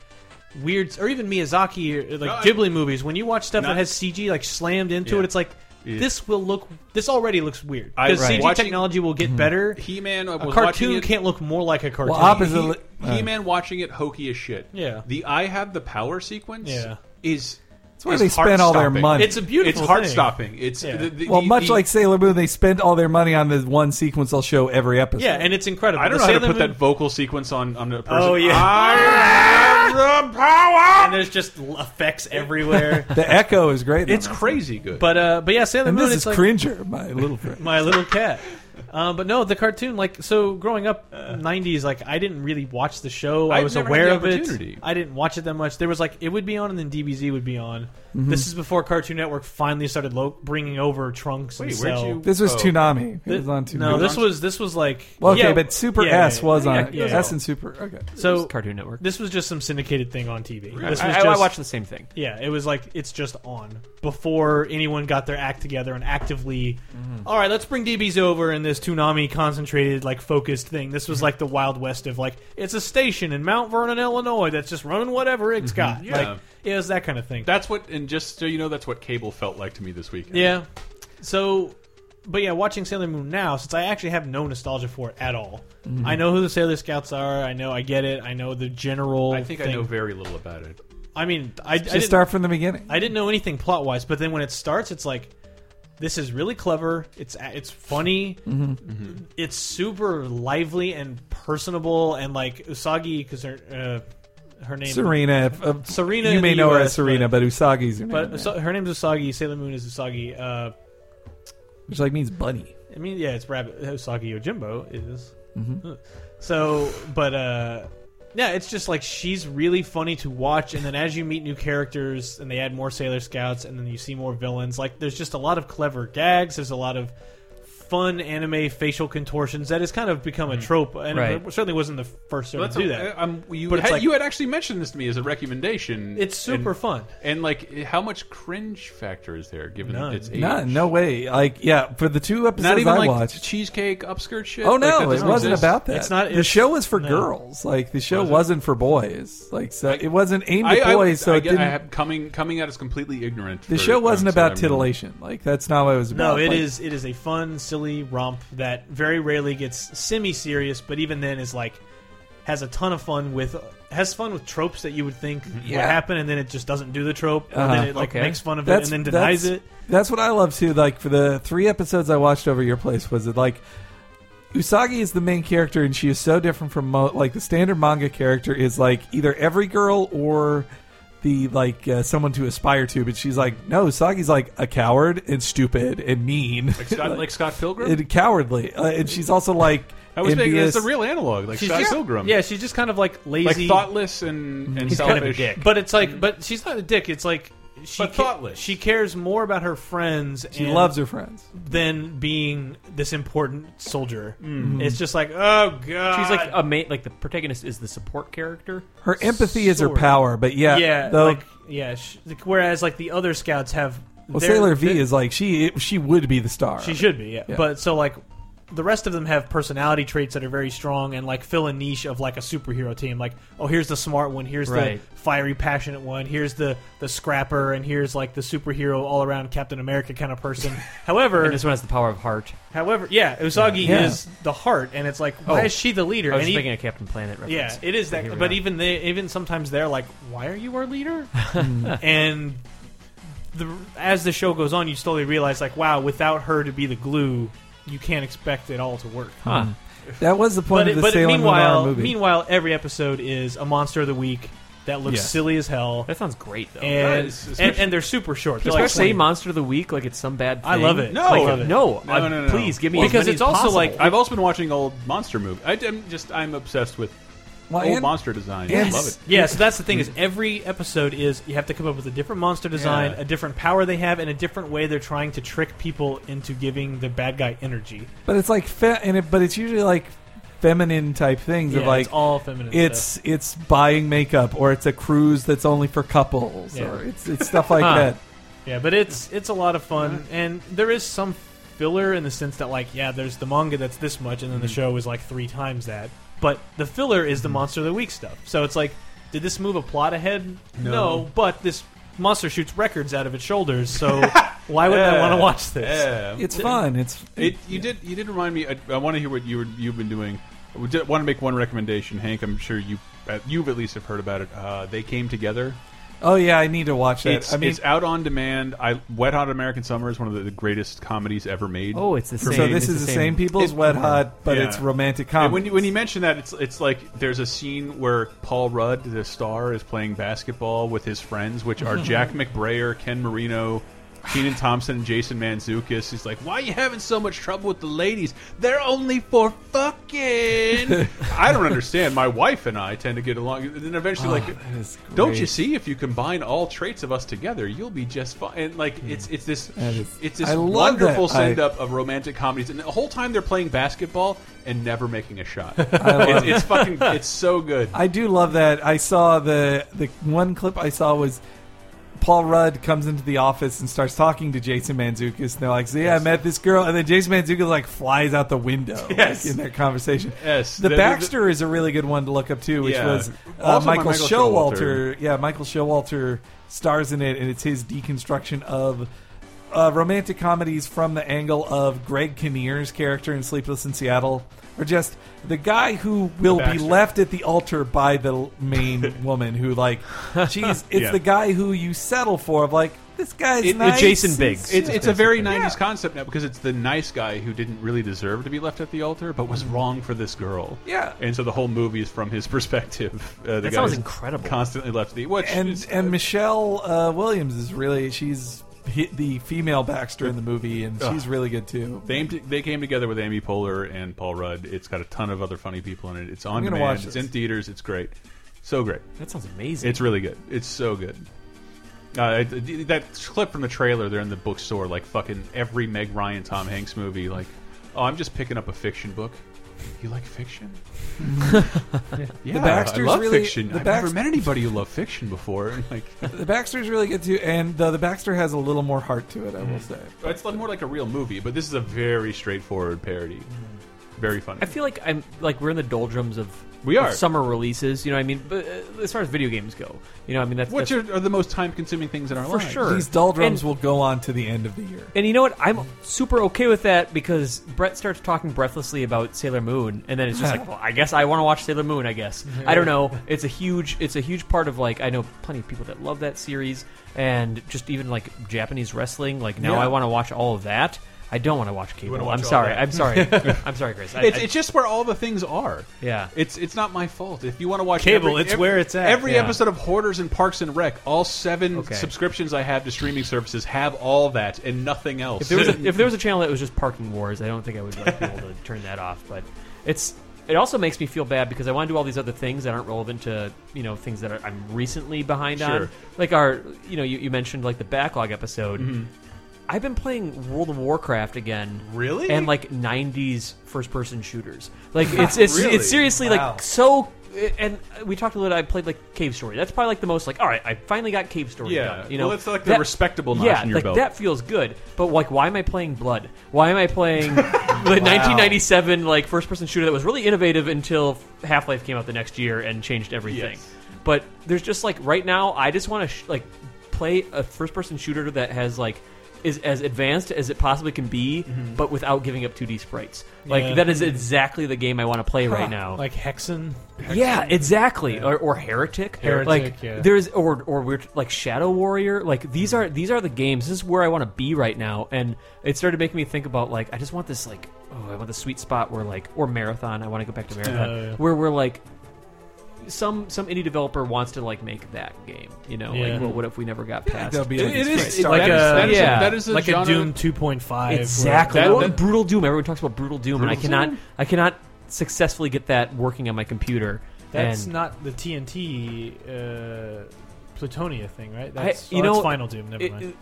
C: weird, or even Miyazaki or like
A: I-
C: Ghibli movies, when you watch stuff that
A: Not-
C: has CG like slammed into
A: Yeah.
C: it, it's like.
A: Yeah.
C: This will look. This already looks weird
A: I-
C: because
A: right.
C: CG
A: Watching-
C: technology will get better.
A: He-Man. I
C: A
A: was watching
C: cartoon
A: it-
C: can't look more like a cartoon.
B: well, opposite. li-
A: He- He-Man watching it hokey as shit.
C: Yeah.
A: The I have the power sequence.
C: Yeah.
A: Is. That's
B: where they spend all their money.
C: It's a beautiful.
A: It's heart
C: thing.
A: stopping. It's
C: Yeah.
A: the, the,
B: well,
A: the-
B: much
A: the-
B: like Sailor Moon, they spend all their money on the one sequence. I'll show every episode.
C: Yeah, and it's incredible.
A: I don't know
C: The
A: how to
C: Sailor
A: put
C: Moon-
A: that vocal sequence on on a person.
C: Oh yeah, *laughs*
F: The power!
C: and there's just l- effects everywhere.
B: the echo is great.
A: it's
B: on that.
A: crazy good.
C: but uh, but yeah, Sailor
B: And
C: Moon
B: this
C: it's
B: is
C: like
B: Cringer, my little friend.
C: my little cat. Um, but no, the cartoon like so. Growing up, '90s, like I didn't really watch the show. I
A: I've
C: was
A: never had
C: aware
A: the
C: of it.
A: opportunity.
C: I didn't watch it that much. There was like it would be on, and then DBZ would be on.
B: Mm-hmm.
C: This is before Cartoon Network finally started lo- bringing over Trunks. and
A: Wait, where'd
C: Cell.
A: you-
B: This was
A: Oh.
B: Toonami. It
C: Th-
B: was on Toonami.
C: no, this was this was like
B: Well, okay,
C: yeah,
B: but Super
C: yeah,
B: S
C: yeah,
B: was
C: yeah,
B: on it.
C: yeah.
B: S and Super. Okay.
C: so
E: Cartoon Network.
C: this was just some syndicated thing on TV. This was
E: I, I-
C: just,
E: I watched the same thing.
C: Yeah, it was like it's just on before anyone got their act together and actively.
A: Mm-hmm.
C: "All right, let's bring DBs over in this Toonami concentrated, like focused thing. This
A: Mm-hmm.
C: was like the Wild West of like it's a station in Mount Vernon, Illinois that's just running whatever it's got.
A: Mm-hmm. Yeah.
C: Like, it was that kind of thing.
A: that's what. And just so you know, that's what cable felt like to me this weekend.
C: yeah. So, but yeah, watching Sailor Moon now, since I actually have no nostalgia for it at all.
A: Mm-hmm.
C: I know who the Sailor Scouts are. I know. I get it. I know the general.
A: I think I
C: thing.
A: know very little about it.
C: I mean, I, I didn't
B: Just start from the beginning.
C: I didn't know anything plot wise, but then when it starts, it's like this is really clever. It's it's funny. It's super lively and personable, and like Usagi because her uh, her name
B: Serena. uh,
C: Serena
B: You
C: in
B: may
C: the
B: know her
C: US,
B: as Serena, but, Usagi's her
C: but
B: name.
C: Usa- her name's Usagi. Sailor Moon is Usagi. Uh,
B: which like means bunny.
C: I mean, yeah, it's Rabbit uh, Usagi Yojimbo is. So, but uh, yeah, it's just like she's really funny to watch, and then as you meet new characters and they add more Sailor Scouts, and then you see more villains. Like, there's just a lot of clever gags. There's a lot of fun anime facial contortions that has kind of become a trope, and
E: Right.
C: it certainly wasn't the first show to do that.
A: I-
B: um,
A: I'm- you,
C: But
A: had,
C: it's like-
A: you had actually mentioned this to me as a recommendation.
C: it's super
A: and,
C: fun.
A: And like, how much cringe factor is there given
C: None.
A: its age?
B: None, no way. Like, yeah, for the two episodes
A: Not even
B: I
A: like
B: watched.
A: cheesecake upskirt shit.
B: Oh
A: Like, that
B: no, it
A: doesn't
B: wasn't
A: exist.
B: about that.
C: It's not-
B: the
C: it's-
B: show was for
C: no.
B: girls. Like the show was not for boys. Like so, it wasn't aimed
A: I,
B: at
A: I,
B: boys. so
A: I,
B: it
A: get- I
B: didn't.
A: have coming coming out as completely ignorant. for-
B: the show wasn't
A: um, so
B: about
A: I'm-
B: titillation. Like that's not what it was about.
C: No, it
B: Like,
C: is it is a fun, silly romp that very rarely gets semi-serious, but even then is like has a ton of fun with has fun with tropes that you would think would
B: Yeah.
C: happen, and then it just doesn't do the trope, and
B: Uh-huh.
C: then it like
E: Okay.
C: makes fun of it
B: That's-
C: and then denies
B: that's-
C: it.
B: That's what I love too. Like for the three episodes I watched over your place, was it like Usagi is the main character, and she is so different from mo- like the standard manga character is like either every girl or the like uh, someone to aspire to. But she's like, no, Usagi's like a coward and stupid and mean,
A: Like
B: *laughs*
A: Scott, like Scott Pilgrim.
B: and cowardly, uh, and she's also like.
A: I was thinking
B: envious.
A: it's a real analog, like Scott Pilgrim.
C: Yeah, she's just kind of like
A: like
C: lazy,
A: thoughtless and and
E: He's
A: selfish.
E: kind of a dick.
C: but it's like, but she's not a dick. It's like she
A: But
C: ca-
A: thoughtless.
C: She cares more about her friends.
B: She
C: and
B: loves her friends.
C: than being this important soldier. It's just like, oh god,
E: She's like a mate. Like the protagonist is the support character.
B: Her empathy is her
C: Sort of.
B: power, but yeah,
C: yeah,
B: though,
C: like yeah. Sh- whereas like the other scouts have
B: well,
C: their-
B: Sailor V
C: their-
B: is like she she would be the star.
C: she should be yeah.
B: Yeah.
C: But so like the rest of them have personality traits that are very strong and like fill a niche of like a superhero team. Like oh here's the smart one, here's
E: Right.
C: the fiery passionate one, here's the the scrapper, and here's like the superhero all around Captain America kind
B: *laughs*
C: of person. However,
E: And this one has the power of heart.
C: however, yeah, Usagi
B: Yeah.
C: is the heart, and it's like why
E: Oh.
C: is she the leader?
E: I was
C: and
E: just
C: he-
E: thinking of Captain Planet reference.
C: Yeah, it is
E: Here
C: that.
E: we
C: But
E: are.
C: even they, even sometimes they're like, "Why are you our leader?" and the, as the show goes on, you slowly realize, like, wow, without her to be the glue, you can't expect it all to work.
E: Huh.
B: that was the point
C: But,
B: of
C: it,
B: the
C: but
B: Sailor Moon
C: meanwhile,
B: movie.
C: meanwhile, every episode is a monster of the week that looks
B: Yes.
C: silly as hell,
E: That sounds great though.
C: and,
A: is-
C: and
A: especially-
C: and they're super short. They're
E: Like,
C: like
E: say
C: 20.
E: monster of the week like it's some bad. Thing.
C: I love it.
A: No.
C: I
E: Like,
C: love it.
E: no,
A: No,
E: I-
A: no, no, no.
E: please give me as
C: Because
E: many
C: it's
E: as
C: also,
E: possible.
C: like,
A: I've also been watching old monster movies. I, am just I'm obsessed with
B: Well,
A: old
B: and-
A: monster design.
B: Yes.
A: I love it.
C: Yeah, so that's the thing is every episode is you have to come up with a different monster design,
A: Yeah.
C: a different power they have, and a different way they're trying to trick people into giving the bad guy energy.
B: but it's like fe- and it, but it's usually like feminine type things
C: Yeah,
B: of like
C: it's all feminine. stuff.
B: it's it's buying makeup or it's a cruise that's only for couples
C: Yeah.
B: or it's it's stuff like
E: Huh.
B: that.
C: yeah, but it's it's a lot of fun, and there is some filler in the sense that like yeah, there's the manga that's this much, and then the show is like three times that. But the filler is the monster of the week stuff. So it's like, did this move a plot ahead? No, but this monster shoots records out of its shoulders. So why would I want to watch this?
A: Yeah.
B: It's fun. It's
A: It, you did you did remind me. I, I want to hear what you were, you've been doing. I did, want to make one recommendation, Hank. I'm sure you uh, you've at least have heard about it. Uh, they came together.
B: oh yeah, I need to watch that.
A: It's,
B: I mean,
A: it's out on demand. I Wet Hot American Summer is one of the, the greatest comedies ever made.
E: Oh, it's the
A: For
E: same.
B: so
A: me.
B: this
E: it's
B: is
E: the
B: the
E: same-
B: same people as Wet Hot, but
A: Yeah.
B: it's romantic
A: And
B: comedy.
A: when you, when you mention that, it's it's like there's a scene where Paul Rudd, the star, is playing basketball with his friends, which are
B: Mm-hmm.
A: Jack McBrayer, Ken Marino, Keenan Thompson, Jason Manzukis. He's like, "Why are you having so much trouble with the ladies? They're only for
B: *laughs*
A: fucking." I don't understand. My wife and I tend to get along, and then eventually, like,
B: Oh, is
A: don't
B: great.
A: you see? If you combine all traits of us together, you'll be just fine. And like, it's it's this
B: That is-
A: it's this
B: I love that.
A: wonderful
B: I-
A: send up of romantic comedies, and the whole time they're playing basketball and never making a
B: *laughs*
A: shot.
B: love
A: it's, it's
B: *laughs*
A: fucking, it's so good.
B: I do love that. I saw the the one clip I saw was Paul Rudd comes into the office and starts talking to Jason Manzukis, and they're like, "So yeah, I met this girl," and then Jason Manzukis like flies out the window
A: *laughs*
B: like,
A: Yes.
B: in their conversation.
A: Yes.
B: the,
A: The- the-
B: Baxter is a really good one to look up too, which
A: Yeah.
B: was uh,
A: Also by
B: Michael,
A: Michael
B: Showalter.
A: Showalter.
B: Yeah, Michael Showalter stars in it, and it's his deconstruction of. Uh, romantic comedies from the angle of Greg Kinnear's character in Sleepless in Seattle, or just the guy who will be
A: Baxter.
B: left left at the altar by the main woman who like she's it's
A: Yeah.
B: the guy who you settle for of like this guy's
A: It- it-
B: nice
E: Jason
B: and-
E: Biggs.
A: It's, it's a very 90s
B: Yeah.
A: concept now because it's the nice guy who didn't really deserve to be left at the altar but was wrong for this girl.
B: Mm-hmm. Yeah.
A: And so the whole movie is from his *laughs* perspective. Uh, the
E: That
A: guy
E: sounds
A: who's
E: incredible.
A: Constantly left the. Which
B: and
A: is-
B: and Michelle uh, Williams is really she's hit the female Baxter in the movie and she's really good too.
A: They, aimed they came together with Amy Poehler and Paul Rudd. It's got a ton of other funny people in it. It's on
B: I'm gonna
A: demand.
B: watch
A: it's
B: this.
A: in theaters. It's great. So great.
E: That sounds amazing.
A: It's really good. It's so good. Uh, it- that clip from the trailer, they're in the bookstore, like fucking every Meg Ryan, Tom Hanks movie, like "Oh, I'm just picking up a fiction book." You like fiction? yeah,
B: The Baxters
A: I love
B: really-
A: fiction.
B: the
A: I've
B: Bax-
A: never met anybody who loved fiction before. *laughs* And like,
B: The Baxter's really good too, and the, the Baxter has a little more heart to it, I
A: Mm.
B: will say.
A: it's more like a real movie, but this is a very straightforward parody. Very funny.
E: I feel like I'm like we're in the doldrums of
A: We
E: of
A: are.
E: summer releases. You know, what I mean, but uh, as far as video games go, you know, I mean that's
A: Which
E: that's-
A: are, are the most time-consuming things in our
E: For
A: lives?
E: sure.
B: These doldrums
E: And-
B: will go on to the end of the year.
E: And you know what? I'm super okay with that because Brett starts talking breathlessly about Sailor Moon, and then it's just
A: *laughs*
E: like, well, I guess I want to watch Sailor Moon. I guess I don't know. It's a huge, it's a huge part of like I know plenty of people that love that series, and just even like Japanese wrestling. Like now,
B: Yeah.
E: I want to watch all of that. I don't want to watch cable.
A: wanna
E: I'm
A: watch all
E: sorry.
A: that.
E: I'm sorry.
A: *laughs*
E: I'm sorry, Chris. I,
A: It's,
E: I-
A: it's just where all the things are.
E: Yeah.
A: It's it's not my fault. If you want to watch
C: Cable,
A: every-
C: it's
A: every-
C: where it's at.
A: Every
E: Yeah.
A: episode of Hoarders and Parks and Rec, all seven
E: Okay.
A: subscriptions I have to streaming services have all that and nothing else.
E: If
A: *laughs*
E: there was a, if there was a channel that was just parking wars, I don't think I would like, be able to *laughs* turn that off. But it's it also makes me feel bad because I want to do all these other things that aren't relevant to you know things that are, I'm recently behind
A: Sure.
E: on. Like our you know you, you mentioned like the backlog episode.
A: Mm-hmm.
E: I've been playing World of Warcraft again.
A: Really?
E: And like 90s first person shooters.
A: *laughs*
E: Like it's it's
A: Really?
E: it's seriously
C: Wow.
E: like so and we talked a little I played like Cave Story. That's probably like the most like all right, I finally got Cave Story
A: Yeah.
E: done, you know.
A: Well, that's like the respectable notch
E: yeah,
A: in your
E: like
A: belt.
E: that feels good. But like, why am I playing Blood? Why am I
A: *laughs*
E: playing the 1997 like first-person shooter that was really innovative until Half-Life came out the next year and changed everything?
A: Yes.
E: But there's just like right now, I just want to sh- like play a first-person shooter that has like is as advanced as it possibly can be,
A: Mm-hmm.
E: but without giving up 2D sprites. Like
C: Yeah.
E: that is exactly the game I want to play right now.
C: Like Hexen.
E: Yeah, exactly. Or, or heretic.
C: Heretic,
E: Like
C: yeah.
E: there's or or we're like Shadow Warrior. Like these are these are the games. This is where I want to be right now. And it started making me think about like I just want this like oh I want the sweet spot where like or marathon. I want to go back to marathon
C: Yeah, yeah.
E: where we're like some some indie developer wants to like make that game. You know,
C: Yeah.
E: like well, what if we never got past?
B: They'll be like
A: it
B: these
A: is
B: great
C: Like
A: That is- that
C: a
A: is a-
E: yeah.
A: that is a
C: like
A: genre
C: a Doom 2.5. where-
E: Exactly.
A: That-
E: Or
A: that-
E: brutal Doom. Everyone talks about brutal Doom, and I
A: Brutal
E: cannot
A: Doom?
E: I cannot successfully get that working on my computer.
C: That's
E: and,
C: not the TNT uh, Plutonia thing, right?
E: I-
C: That's,
E: you
C: oh, that's
E: know,
C: Final Doom. Never
E: it,
C: mind.
E: it-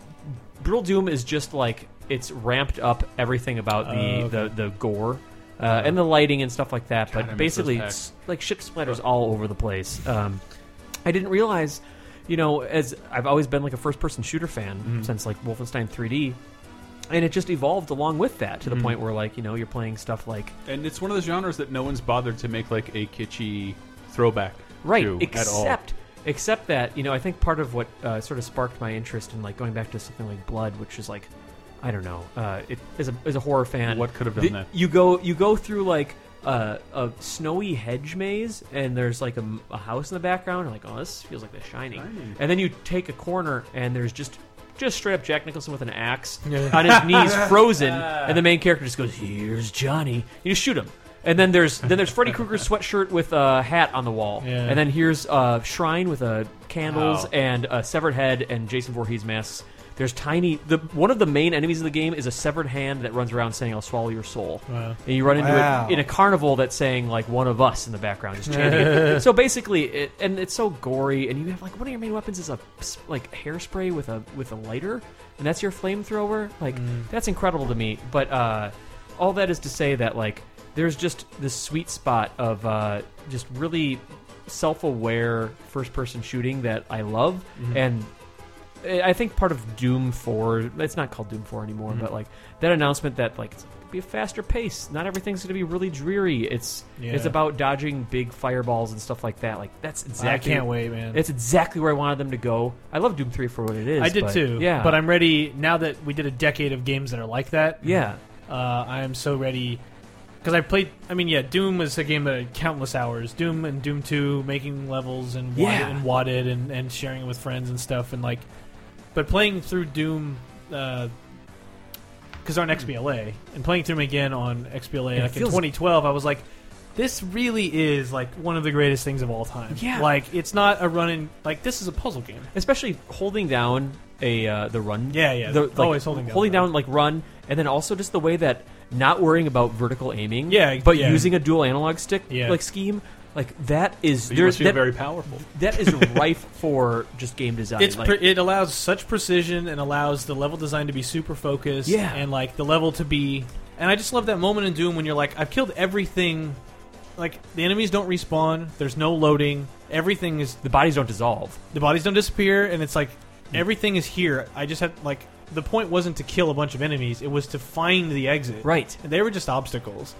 E: Brutal Doom is just like it's ramped up everything about the
C: Oh, okay.
E: the, the gore uh, and the lighting and stuff like that.
A: I miss
E: but basically,
A: those
E: it's like shit splatters all over the place. Um, I didn't realize, you know, as I've always been like a first person shooter fan
C: Mm-hmm.
E: since like Wolfenstein 3D. And it just evolved along with that
C: Mm-hmm.
E: to the point where, like, you know, you're playing stuff like
A: and it's one of those genres that no one's bothered to make like a kitschy throwback
E: right
A: to at all.
E: except except that you know i think part of what uh, sort of sparked my interest in like going back to something like blood which is like i don't know uh, it, as, a, as a horror fan
A: What could have
E: the-
A: done that?
E: you go you go through like uh, a snowy hedge maze and there's like a, m- a house in the background and like oh this feels like the shining
A: Shining.
E: and then you take a corner and there's just just straight up Jack Nicholson with an axe
C: Yeah.
E: on his knees, frozen, and the main character just goes, "Here's Johnny." You just shoot him, and then there's then there's Freddy Krueger's sweatshirt with a hat on the wall,
C: Yeah.
E: and then here's a shrine with a candles
A: Wow.
E: and a severed head and Jason Voorhees masks. There's tiny. The one of the main enemies of the game is a severed hand that runs around saying, "I'll swallow your soul."
C: Wow.
E: And you run into
B: Wow.
E: it in a carnival that's saying like "One of us" in the background, just chanting. it. So basically, it, and it's so gory. And you have like one of your main weapons is a s- like hairspray with a with a lighter, and that's your flamethrower. Like that's incredible to me. But uh, all that is to say that like there's just this sweet spot of uh, just really self-aware first-person shooting that I love, and I think part of Doom Four. It's not called Doom Four anymore,
C: Mm-hmm.
E: but like that announcement that like it's gonna be a faster pace. Not everything's going to be really dreary. It's it's
C: Yeah.
E: about dodging big fireballs and stuff like that. Like that's
C: I
E: exactly.
C: can't wait, man.
E: It's exactly where I wanted them to go. I love Doom Three for what it is.
C: I did
E: but-
C: too.
E: Yeah,
C: But I'm ready now that we did a decade of games that are like that.
E: yeah.
C: Uh, I am so ready because I played. I mean, yeah, Doom was a game that I had countless hours. Doom and Doom Two, making levels and wadded,
E: Yeah.
C: and wadded and and sharing it with friends and stuff and like. But playing through Doom, because on XBLA and playing through them again on XBLA, like
E: It
C: in
E: feels-
C: 2012, I was like. This really is like one of the greatest things of all time.
E: Yeah.
C: like it's not a run in like this is a puzzle game.
E: especially holding down a uh, the run.
C: Yeah, yeah.
E: The, like,
C: Always holding down
E: holding
C: the run.
E: down like run, and then also just the way that not worrying about vertical aiming.
C: Yeah,
E: but
C: yeah.
E: using a dual analog stick
C: Yeah.
E: like scheme. Like that is
A: So you
E: there's
A: must feel
E: that,
A: very powerful.
E: that is rife for just game design.
C: It's
E: like,
C: pre- it allows such precision and allows the level design to be super focused.
E: Yeah.
C: and like the level to be And I just love that moment in Doom when you're like, I've killed everything. Like the enemies don't respawn. There's no loading. Everything is
E: The bodies don't dissolve.
C: the bodies don't disappear, and it's like
E: Mm.
C: everything is here. I just had like the point wasn't to kill a bunch of enemies; it was to find the exit.
E: Right.
C: And they were just obstacles.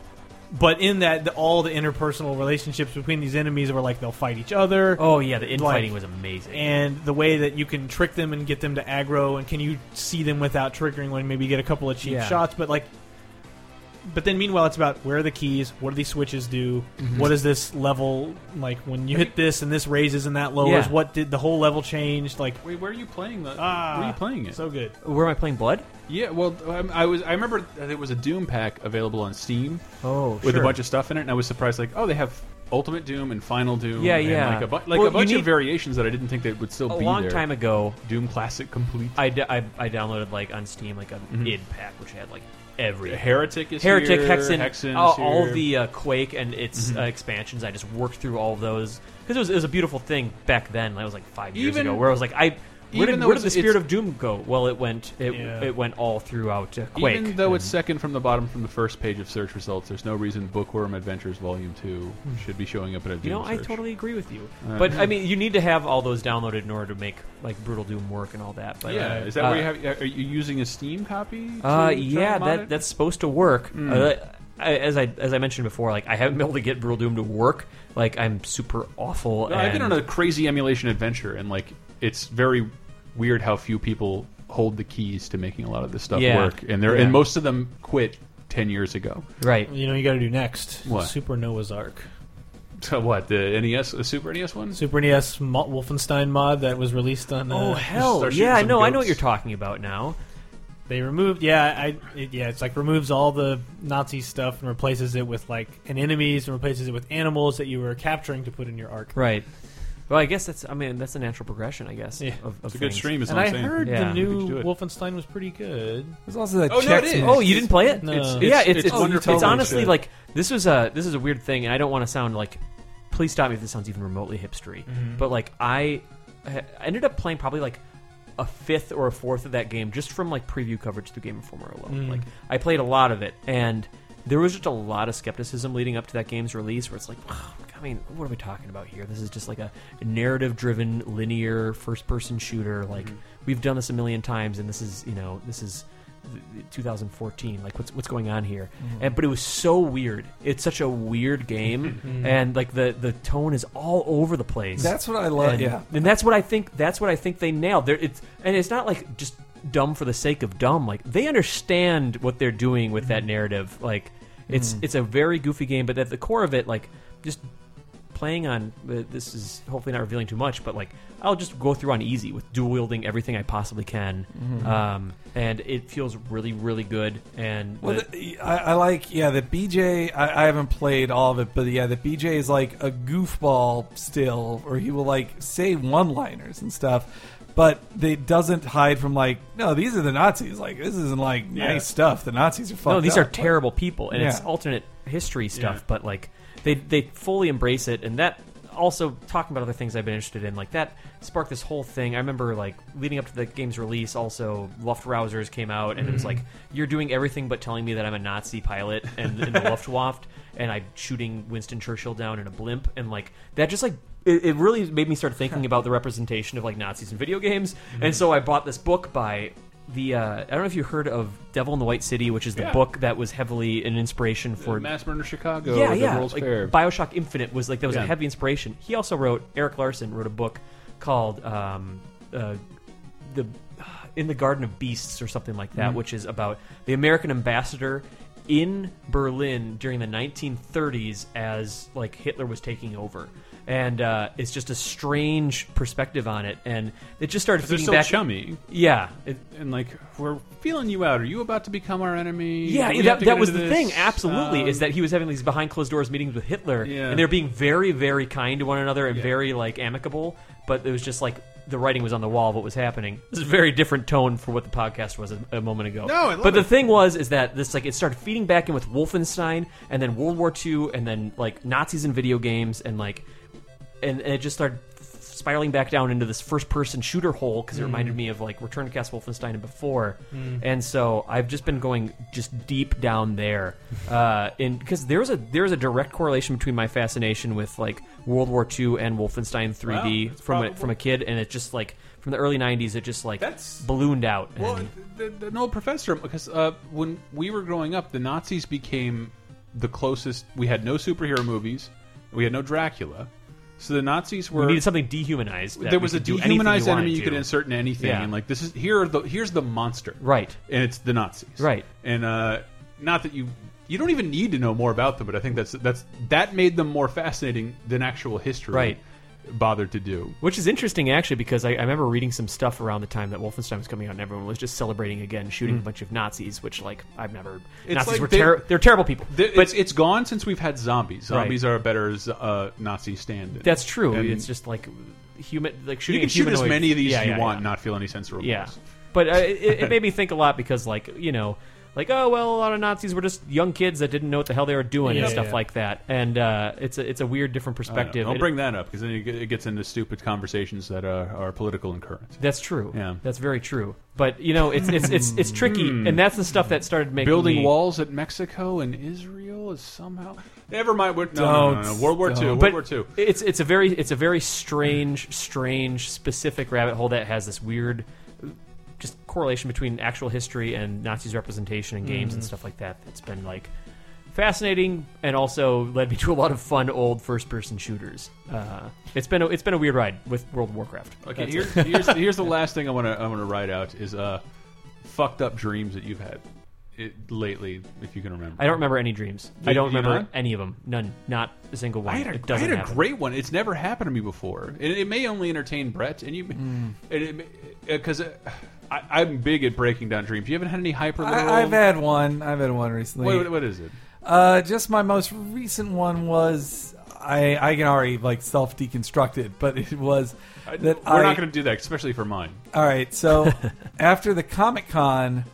C: But in that, the, all the interpersonal relationships between these enemies were like they'll fight each other.
E: Oh yeah, the infighting
C: Like-
E: was amazing.
C: And the way that you can trick them and get them to aggro, and can you see them without triggering when maybe you get a couple of cheap
E: Yeah.
C: shots? But like, but then meanwhile, it's about where are the keys? What do these switches do?
E: Mm-hmm.
C: What is this level like when you hit this and this raises and that lowers?
E: Yeah.
C: What did the whole level change? Like,
A: Wait, where are you playing the?
C: ah,
A: where are you playing it?
C: So good.
E: Where am I playing Blood?
A: yeah, well, um, I, I was. I remember that there was a Doom pack available on Steam
E: Oh,
A: with a bunch of stuff in it, and I was surprised. Like, oh, they have Ultimate Doom and Final Doom.
E: Yeah,
A: and
E: yeah.
A: Like a, bu- like
E: Well,
A: a bunch
E: you
A: of
E: need-
A: variations that I didn't think they would still
E: a
A: be
E: long
A: there.
E: time ago.
A: Doom Classic Complete.
E: I, d- I, I downloaded like on Steam like a id pack which had like every
A: Mm-hmm. Heretic is
E: Heretic,
A: here,
E: Hexen,
A: Hexen's
E: all, all
A: here. Mm-hmm.
E: the uh, Quake and its uh, expansions. I just worked through all of those because it was, it was a beautiful thing back then. That was like five years
A: Even-
E: ago, where I was like, I where
A: even
E: did,
A: though
E: where did the
A: it's-
E: Spirit
A: it's-
E: of Doom go? Well, it went it,
C: Yeah.
E: it went all throughout uh, Quake.
A: Even though it's second from the bottom from the first page of search results, there's no reason Bookworm Adventures Volume Two should be showing up in a Doom
E: Hmm. you know, I
A: search.
E: totally agree with you.
A: Uh,
E: but I mean, you need to have all those downloaded in order to make like brutal Doom work and all that. But
A: Yeah, is that
E: uh,
A: where you have? Are you using a Steam copy? to
E: Uh,
A: try
E: yeah,
A: and mod
E: that
A: it? Hmm.
E: that's supposed to work. Uh, I, as I as I mentioned before, like I haven't been able to get Brutal Doom to work. Like I'm super awful.
A: No, I've been on
E: and-
A: a crazy emulation adventure, and like it's very weird how few people hold the keys to making a lot of this stuff
E: Yeah.
A: work, and they're
E: Yeah.
A: and most of them quit ten years ago.
E: right.
C: You know, you got to do next.
A: What?
C: Super Noah's Ark,
A: So *laughs* what the NES, the Super NES one?
C: Super NES Mo- Wolfenstein mod that was released on. Uh,
E: Oh hell
A: start shooting
E: yeah! I
A: some
E: know I know
A: goats.
E: what you're talking about now.
C: They removed, yeah, I, it, yeah, it's like removes all the Nazi stuff and replaces it with like an enemies and replaces it with animals that you were capturing to put in your arc.
E: Right. Well, I guess that's I mean that's a natural progression. I guess.
C: Yeah.
E: Of, of
A: It's a good
E: things.
A: stream, is
C: And
A: what
C: I
A: I'm saying.
C: heard
E: Yeah.
C: the
A: We
C: new
A: could do it.
C: Wolfenstein was pretty good.
B: There's also that
A: Oh, no, it
B: Chex
A: is.
B: Mix.
E: Oh, you didn't play it?
C: No.
A: It's,
E: yeah, it's it's,
A: it's,
E: it's,
A: wonderful.
E: honestly like this was a this is a weird thing, and I don't want to sound like. Please stop me if this sounds even remotely hipstery, but like I, I ended up playing probably like a fifth or a fourth of that game just from like preview coverage through Game Informer alone. Like I played a lot of it, and there was just a lot of skepticism leading up to that game's release, where it's like. I mean, what are we talking about here? This is just like a narrative-driven, linear first-person shooter. Like we've done this a million times, and this is you know this is 2014 like what's what's going on here and but it was so weird it's such a weird game and like the the tone is all over the place
B: That's what I love.
E: and,
B: yeah.
E: and that's what i think that's what i think they nailed there it's and it's not like just dumb for the sake of dumb like they understand what they're doing with that narrative like it's it's a very goofy game but at the core of it like just playing on uh, this is hopefully not revealing too much but like i'll just go through on easy with dual wielding everything i possibly can um, and it feels really really good and
B: Well,
E: the-
B: the, I, I like yeah the BJ. I, I haven't played all of it, but yeah, the BJ is like a goofball still, or he will like say one-liners and stuff, but they doesn't hide from like no, these are the Nazis. Like this isn't like nice stuff. The Nazis are fucked.
E: no these
B: up.
E: are terrible people and it's
B: Yeah.
E: alternate history stuff but like they they fully embrace it and that also talking about other things I've been interested in like that sparked this whole thing I remember like leading up to the game's release also Luftwaffers came out and it was
B: Mm.
E: like you're doing everything but telling me that I'm a Nazi pilot and
B: *laughs*
E: in the Luftwaffe and I'm shooting Winston Churchill down in a blimp and like that just like it, it really made me
B: *laughs*
E: start thinking about the representation of like Nazis in video games
B: Mm-hmm.
E: and so I bought this book by the uh, I don't know if you heard of Devil in the White City, which is the
A: Yeah.
E: book that was heavily an inspiration for
A: Mass Murder Chicago,
E: yeah,
A: the
E: yeah.
A: World's
E: like,
A: Fair.
E: Bioshock Infinite was like that was
A: Yeah.
E: a heavy inspiration. He also wrote Eric Larson wrote a book called um, uh, the uh, in the Garden of Beasts or something like
A: Mm-hmm.
E: that, which is about the American ambassador in Berlin during the 1930s as like Hitler was taking over. And uh, it's just a strange perspective on it, and it just started
A: they're
E: feeding
A: still
E: back.
A: chummy,
E: Yeah, it,
A: and like we're feeling you out. Are you about to become our enemy?
E: Yeah,
A: Do we have
E: that,
A: to
E: that
A: get
E: was the
A: into
E: thing.
A: this?
E: Absolutely,
A: Um,
E: is that he was having these behind closed doors meetings with Hitler,
A: Yeah.
E: and they were being very, very kind to one another and
A: Yeah.
E: very like amicable. But it was just like the writing was on the wall of what was happening. This is a very different tone for what the podcast was a, a moment ago.
A: No, I love
E: but the
A: it.
E: thing was is that this like it started feeding back in with Wolfenstein, and then World War II, and then like Nazis in video games, and like and, and it just started f- spiraling back down into this first-person shooter hole because it
A: Mm.
E: reminded me of like Return to Castle Wolfenstein and before, and so I've just been going just deep down
A: *laughs*
E: there, uh, in because there's a there's a direct correlation between my fascination with like World War II and Wolfenstein 3D
A: Wow, it's
E: from a,
A: probable.
E: from a kid, and it just like from the early '90s, it just like
A: That's-
E: ballooned out.
A: Well,
E: and-
A: the, the, an old professor, because uh, when we were growing up, the Nazis became the closest. We had no superhero movies, we had no Dracula, so the Nazis were.
E: we needed something dehumanized. That
A: there
E: we
A: was a
E: could do anything
A: dehumanized
E: we
A: enemy
E: wanted
A: you could
E: to.
A: insert in anything,
E: Yeah.
A: and like this is here are the here's the monster,
E: Right.
A: And it's the Nazis,
E: Right.
A: And uh, not that you you don't even need to know more about them, but I think that's that's that made them more fascinating than actual history
E: Right.
A: bothered to do.
E: Which is interesting, actually, because I, I remember reading some stuff around the time that Wolfenstein was coming out, and everyone was just celebrating again, shooting a bunch of Nazis, which, like, I've never.
A: Mm. It's
E: Nazis
A: like
E: were
A: they-
E: ter- they're terrible people.
A: Th-
E: but
A: it's, it's gone since we've had zombies.
E: Right.
A: Zombies are a better uh, Nazi stand.
E: that's true.
A: And-
E: It's just like human, like
A: You
E: shooting.
A: can
E: a
A: shoot as
E: humanoid-
A: many of these
E: Yeah,
A: as you
E: yeah,
A: want,
E: yeah.
A: and not feel any sense of remorse.
E: Yeah, but uh,
A: *laughs*
E: it, it made me think a lot because, like, you know, like oh well, a lot of Nazis were just young kids that didn't know what the hell they were doing
C: Yeah,
E: and stuff
C: yeah.
E: like that, and uh, it's a it's a weird different
A: Uh, Don't,
E: perspective. It-
A: bring that up because then it ge- it gets into stupid conversations that are, are political and current.
E: That's true.
A: Yeah. Hmm.
E: that's very true. But you know, it's it's it's it's tricky, and that's the stuff that started making
A: Building
E: me-
A: walls at Mexico and Israel is somehow. Never mind. We're, no, no, no, no,
B: Don't.
A: World War
B: Don't.
A: II. World
E: But
A: War II.
E: it's it's a very it's a very strange strange specific rabbit hole that has this weird uh, just correlation between actual history and Nazis representation in games
A: Mm.
E: and stuff like that. That's been like fascinating and also led me to a lot of fun old first person shooters. Uh, it's been a, it's been a weird ride with World of Warcraft.
A: Okay, here's,
E: *laughs*
A: here's here's the last thing I want to I want to write out is uh, fucked up dreams that you've had it, lately, if you can remember.
E: I don't remember any dreams. I
A: You-
E: don't
A: you
E: remember
A: not?
E: any of them. None. Not a single one.
A: I had a,
E: it
A: I
E: doesn't
A: had a
E: happen.
A: great one. It's never happened to me before, and it may only entertain Brett. And uh, you,
E: Hmm.
A: because I'm big at breaking down dreams. You haven't had any hyper. literal-
B: I, I've had one. I've had one recently.
A: Wait, what- what is it?
B: Uh, just my most recent one was I. I can already like self deconstructed, but it was that
A: We're
B: I,
A: not going to do that, especially for mine.
B: All right, so
E: *laughs*
B: after the Comic Con,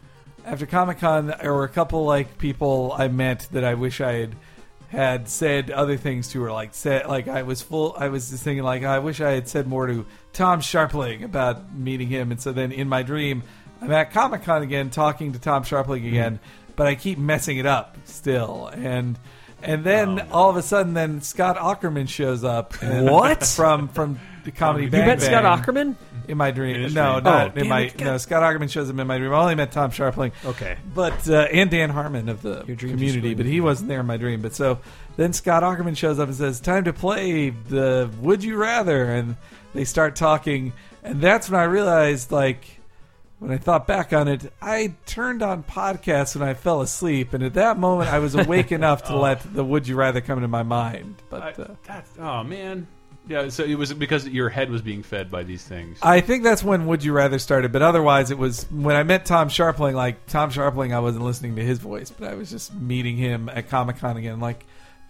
B: after Comic Con, there were a couple like people I met that I wish I had had said other things to, or like said like I was full. I was just thinking like I wish I had said more to Tom Sharpling about meeting him, and so then in my dream, I'm at Comic Con again, talking to Tom
E: Hmm.
B: Sharpling again, but I keep messing it up still, and. And
E: Oh,
B: then all of a sudden, then Scott Ackerman shows up.
E: What?
B: from from the comedy?
E: You met Scott Ackerman?
B: in my dream.
A: his
B: no,
A: dream.
B: not
E: Oh,
B: in
E: damn
B: my.
E: it, God.
B: no, Scott Ackerman shows him in my dream. I only met Tom Sharpling.
E: Okay.
B: But uh, and Dan Harmon of the
E: dream
B: community,
E: just
B: but he wasn't there in my dream. But so then Scott Ackerman shows up and says, "Time to play the Would You Rather," and they start talking, and that's when I realized, like, when I thought back on it, I turned on podcasts when I fell asleep, and at that moment I was awake enough to let the Would You Rather come into my mind.
A: I,
B: But uh,
A: that's, oh man, yeah. So it was because your head was being fed by these things.
B: I think that's when Would You Rather started, but otherwise it was when I met Tom Sharpling. Like Tom Sharpling, I wasn't listening to his voice, but I was just meeting him at Comic Con again, like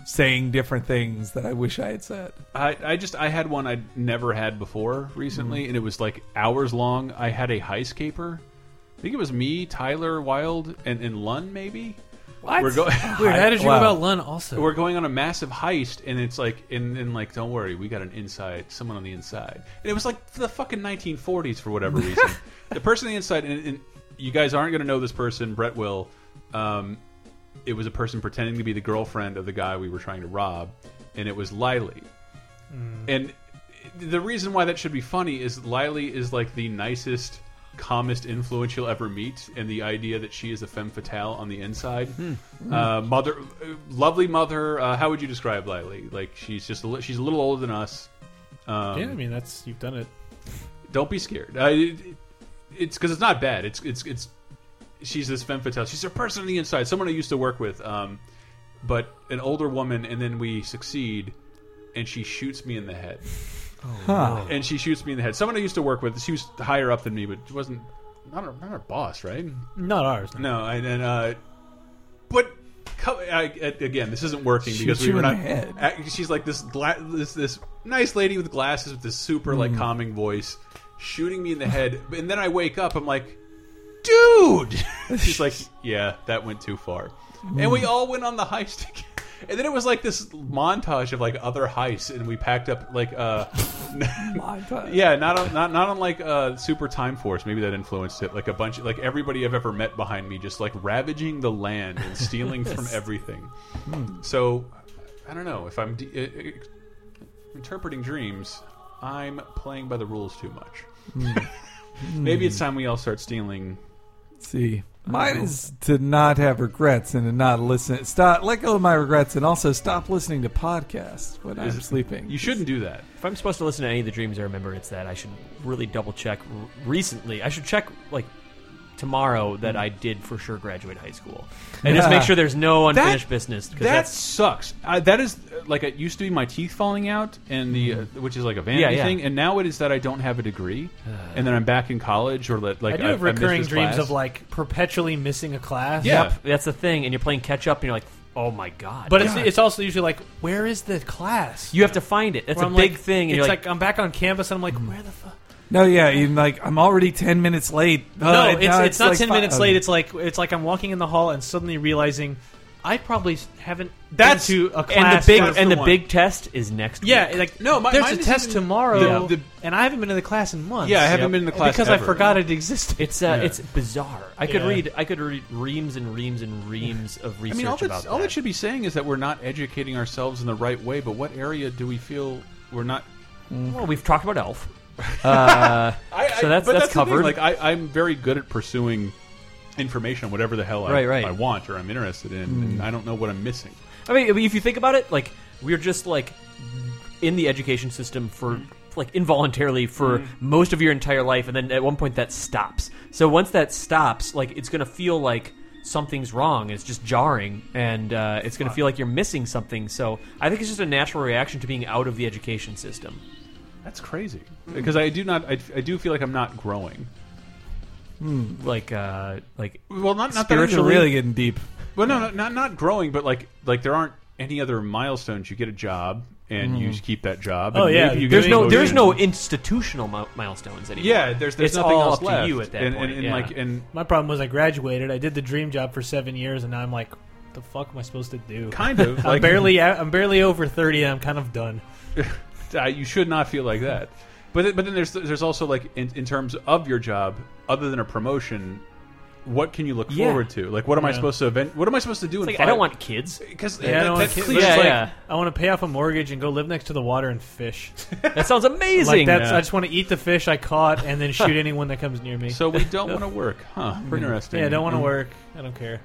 B: saying different things that I wish I had said.
A: I, I just I had one I'd never had before recently, and it was like hours long. I had a heistcaper. I think it was me, Tyler Wild, and, and Lun maybe.
E: What?
A: We're going.
C: Weird. How did you know
B: Wow.
C: about Lun also?
A: We're going on a massive heist, and it's like, and, and like, don't worry, we got an inside, someone on the inside, and it was like the fucking 1940s for whatever reason. the person on the inside, and, and you guys aren't going to know this person, Brett will. Um, it was a person pretending to be the girlfriend of the guy we were trying to rob, and it was Lily. And the reason why that should be funny is Lily is like the nicest, calmest influence you'll ever meet, and the idea that she is a femme fatale on the inside, uh, mother, uh, lovely mother. Uh, how would you describe Lily? Like she's just a li she's a little older than us. Um,
C: yeah, I mean that's you've done it.
A: don't be scared. I, it, it's because it's not bad. It's it's it's she's this femme fatale. She's a person on the inside, someone I used to work with, um, but an older woman. And then we succeed, and she shoots me in the head.
B: Huh.
A: And she shoots me in the head. Someone I used to work with. She was higher up than me, but she wasn't not our, not our boss, right?
C: Not ours.
A: No, and, and uh, but co- I, a- again, this isn't working
B: Shoot
A: because we
B: you
A: were
B: in
A: not.
B: the head.
A: uh, She's like this, gla- this this nice lady with glasses with this super like calming voice, shooting me in the head, and then I wake up. I'm like, *laughs* dude. she's like, yeah, that went too far, and we all went on the heist. *laughs* together. And then it was like this montage of like other heists, and we packed up like uh, *laughs*
B: Montage.
A: yeah, not on, not not unlike uh, Super Time Force. Maybe that influenced it. Like a bunch, like everybody I've ever met behind me, just like ravaging the land and stealing from everything. So I don't know if I'm de uh, uh, interpreting dreams. I'm playing by the rules too much. *laughs* Maybe it's time we all start stealing.
B: Let's see. Mine is to not have regrets and to not listen. Stop. Let go of my regrets and also stop listening to podcasts when I'm sleeping.
A: You shouldn't do that.
E: If I'm supposed to listen to any of the dreams I remember, it's that I should really double check r- recently. I should check like tomorrow that
C: Mm-hmm.
E: I did for sure graduate high school and just make sure there's no unfinished business because
A: That
E: that's,
A: sucks. I, that is uh, like it used to be my teeth falling out, and the uh, which is like a vanity
E: Yeah, yeah.
A: thing, and now it is that I don't have a degree, and then I'm back in college or that like
C: I do have
A: I missed
C: recurring
A: this
C: dreams
A: class.
C: of like perpetually missing a class.
A: yeah,
E: that's the thing. And you're playing catch up and you're like, oh my god!
C: But it's, it's also usually like, where is the class?
E: you have to find it. That's
C: Where
E: a
C: I'm
E: big
C: like-
E: thing. And
C: It's
E: you're
C: like, I'm back on campus and I'm like, where the fuck?
B: No, yeah, even like I'm already ten minutes late.
C: no,
B: Uh,
C: it's, it's,
B: now
C: not
B: like
C: ten
B: fi-
C: minutes
B: oh,
C: late. It's like it's like I'm walking in the hall and suddenly realizing I probably s- haven't
A: That's-
C: been to a class.
E: and the big
A: that's
C: for-
E: and
A: the
E: the,
A: one.
E: big test is next.
C: yeah,
E: week.
C: like
A: No, my-
C: there's
A: mine
C: a
A: is
C: test
A: even-
C: tomorrow,
A: the- the-
C: and I haven't been to the class in months.
A: Yeah, I haven't been in the class
C: because
A: ever.
C: I forgot it existed.
E: It's uh, it's bizarre. I could
C: Yeah.
E: read I could read reams and reams and reams of
A: I
E: research
A: mean, all
E: about
A: that all
E: that.
A: that should be saying is that we're not educating ourselves in the right way. But what area do we feel we're not?
E: Well, we've talked about Elf.
A: I, I-
E: So that's-
A: but
E: that's
A: the thing,
E: covered.
A: Like I, I'm very good at pursuing information, on whatever the hell I,
E: Right, right.
A: I want or I'm interested in, and I don't know what I'm missing.
E: I mean, I mean, if you think about it, like we're just like in the education system for like involuntarily for most of your entire life, and then at one point that stops. So once that stops, like it's gonna feel like something's wrong. It's just jarring, and uh, it's gonna feel like you're missing something. So I think it's just a natural reaction to being out of the education system.
A: That's crazy because Mm. I do not. I, I do feel like I'm not growing.
E: Like, uh, like
A: Well, not not that I'm
B: Spiritually,
A: really
B: really getting deep.
A: Well, no, no, not not growing, but like like there aren't any other milestones. You get a job and you just keep that job. and
C: Oh, yeah.
A: maybe you
E: Mm. there's
A: get
E: no
A: promoted.
E: there's no institutional mi- milestones anymore.
A: yeah. There's there's
E: it's
A: nothing
E: all
A: else
E: up
A: left.
E: to you at that
A: and,
E: point.
A: And, and
E: yeah.
A: like and
C: My problem was I graduated. I did the dream job for seven years, and now I'm like, the fuck am I supposed to do?
A: kind
E: *laughs*
A: of
C: I'm
A: like
C: barely I'm barely over thirty, and I'm kind of done.
A: uh, you should not feel like that. But then- but then there's there's also like in, in terms of your job, other than a promotion, what can you look
E: Yeah.
A: forward to? Like what am I supposed to event? What am I supposed to do?
E: It's
A: in
E: like, I
A: five-
E: don't want kids.
A: because
C: Yeah, I don't want
A: that's
C: kids.
A: cliche.
E: Yeah,
C: Like,
E: yeah.
C: I want to pay off a mortgage and go live next to the water and fish. *laughs*
E: That sounds amazing.
C: like that's
A: Yeah.
C: I just want to eat the fish I caught and then
E: *laughs*
C: shoot anyone that comes near me.
A: So we don't want to work, huh? Interesting.
C: yeah, I don't want to work. I don't care.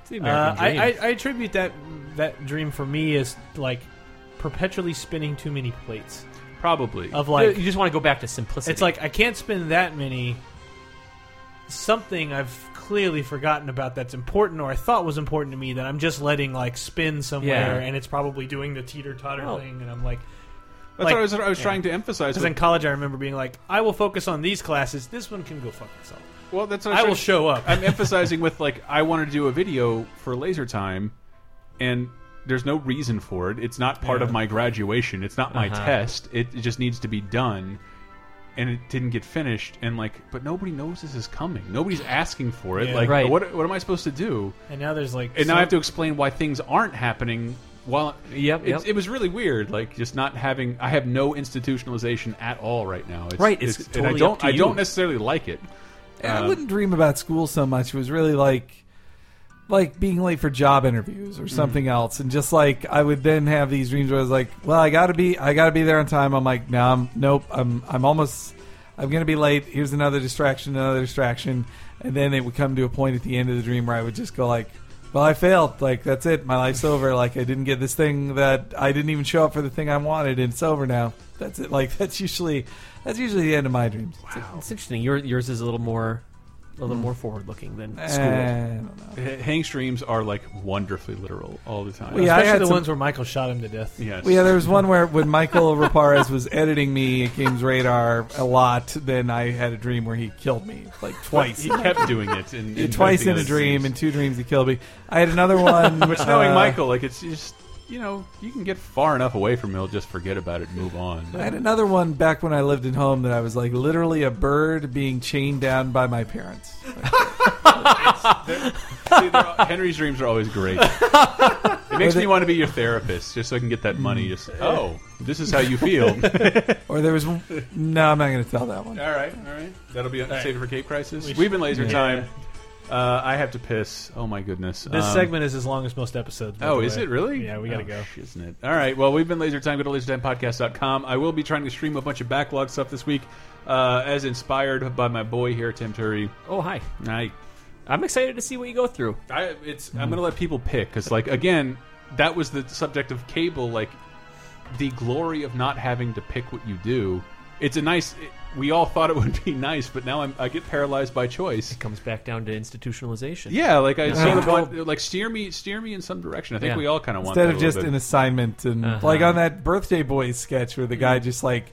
E: It's the
C: Uh,
E: Mm-hmm. American dream.
C: I, I I attribute that that dream for me is like perpetually spinning too many plates
A: Probably.
C: of like
E: you just want to go back to simplicity.
C: it's like I can't spin that many. Something I've clearly forgotten about that's important or I thought was important to me that I'm just letting like spin somewhere
E: Yeah.
C: and it's probably doing the teeter totter
E: Oh.
C: thing and I'm like
A: That's
C: like-
A: what I was, I was trying to emphasize.
C: Because in college, I remember being like, "I will focus on these classes. This one can go fuck itself.
A: well, that's what
C: I
A: was
C: will
A: trying-
C: show up."
A: I'm emphasizing with like I want to do a video for Laser Time, and there's no reason for it. It's not part of my graduation. It's not my
E: Uh-huh.
A: test. It, it just needs to be done, and it didn't get finished. And like, but nobody knows this is coming. Nobody's asking for it.
C: Yeah.
A: Like,
E: Right.
A: what what am I supposed to do?
C: And now there's like,
A: And now I have to explain why things aren't happening. While
E: Yep,
A: it's,
E: yep.
A: it was really weird, like just not having. I have no institutionalization at all right now. It's,
E: Right, it's
A: and I
E: totally
A: don't.
E: up to
A: I
E: you.
A: don't necessarily like it.
B: And I
A: Um,
B: wouldn't dream about school so much. It was really like like being late for job interviews or something else and just like I would then have these dreams where I was like, well, I got to be I got to be there on time. I'm like, no, I'm nope. I'm I'm almost I'm going to be late. Here's another distraction, another distraction. And then it would come to a point at the end of the dream where I would just go like, well, I failed. Like that's it. My life's over. Like I didn't get this thing that I didn't even show up for the thing I wanted and it's over now. That's it. Like *laughs* that's usually that's usually the end of my dreams.
E: It's interesting. Your, yours is a little more, a
A: Hmm.
E: little more forward looking than school.
B: Eh, I don't know.
A: H- Hang streams are like wonderfully literal all the time.
B: Yeah, I
C: especially
B: had
C: the
B: some-
C: ones where Michael shot him to death.
A: Yes.
B: Well, yeah, there was one where when Michael Raparez was editing me at Games Radar a lot, then I had a dream where he killed me like twice.
A: *laughs* He kept doing it. In, in
B: twice
A: both
B: in
A: the
B: a dream,
A: scenes.
B: and two dreams he killed me. I had another
A: *laughs*
B: one.
A: Which, knowing
B: uh,
A: Michael, like it's just you know you can get far enough away from it, he'll just forget about it, and move on.
B: I had another one back when I lived at home that I was like literally a bird being chained down by my parents.
A: See, they're all- Henry's dreams are always great. It makes
B: Or
A: me
B: the-
A: want to be your therapist just so I can get that money. Just oh, this is how you feel. all
B: Or there was. No, I'm not going to tell that one.
A: right, all right. That'll be save it for Cape Crisis.
C: We
A: We've been laser time. Uh, I have to piss. Oh my goodness.
C: This
A: Um,
C: segment is as long as most episodes. by
A: Oh,
C: the
A: is
C: way.
A: it really?
C: Yeah, we gotta
A: Oh,
C: go.
A: sh- Isn't it? All right. Well, we've been Laser Time. Go to lasertimepodcast.com. I will be trying to stream a bunch of backlog stuff this week, uh, as inspired by my boy here, Tim Turry.
E: Oh hi!
A: I,
E: I'm excited to see what you go through.
A: I it's I'm gonna let people pick because, like, again, that was the subject of cable. Like, the glory of not having to pick what you do. It's a nice. It, we all thought it would be *laughs* nice, but now I'm, I get paralyzed by choice.
E: Comes back down to institutionalization.
A: Yeah, like I sort of want, like steer me, steer me in some direction. I think
E: Yeah.
A: we all kind of want
B: Instead
A: that
B: of
A: a
B: just
A: little
B: an
A: bit.
B: assignment and like on that birthday boys sketch where the guy just like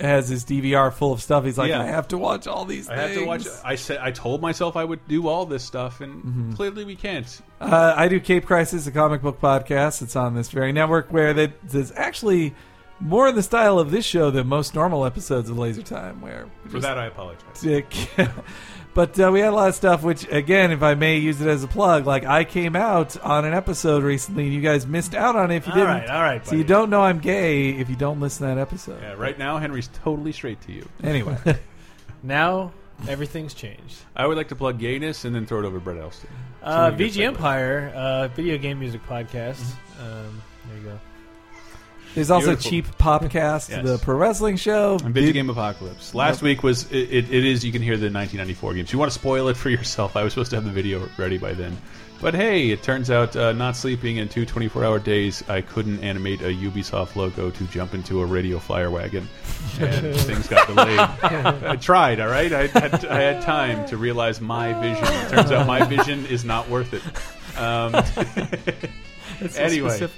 B: has his DVR full of stuff. He's like,
A: Mm-hmm. Yeah.
B: I have to watch all these.
A: I have to watch.
B: things."
A: I said I told myself I would do all this stuff, and clearly we can't.
B: Uh, I do Cape Crisis, a comic book podcast. It's on this very network where that is actually more in the style of this show than most normal episodes of Laser Time. Where we
A: For that, I
B: *laughs*
A: apologize.
B: dick. but uh, we had a lot of stuff, which, again, if I may use it as a plug, like I came out on an episode recently, and you guys missed out on it if you
C: All
B: didn't.
C: right, all right,
B: So you
C: buddy.
B: don't know I'm gay if you don't listen to that episode.
A: Yeah, right now Henry's totally straight to you.
C: *laughs*
B: Anyway,
C: Now everything's changed.
A: I would like to plug gayness and then throw it over Brett Elston.
C: Uh,
A: It's a really
C: VG
A: good segue.
C: Empire, uh, video game music podcast.
A: Mm-hmm.
C: Um, there you go.
B: there's also
A: Beautiful.
B: Cheap
C: *laughs*
B: Popcast,
A: Yes.
B: the pro wrestling show.
A: And
B: Dude,
A: Video Game Apocalypse. Last week was it, it, it is you can hear the 1994 games. You want to spoil it for yourself? I was supposed to have the video ready by then, but hey, it turns out uh, not sleeping in two 24-hour days, I couldn't animate a Ubisoft logo to jump into a radio flyer wagon,
C: *laughs*
A: and things got delayed. I tried, all right. I had, I had time to realize my vision. It turns out my vision is not worth it.
C: *laughs*
A: Um, *laughs* anyway.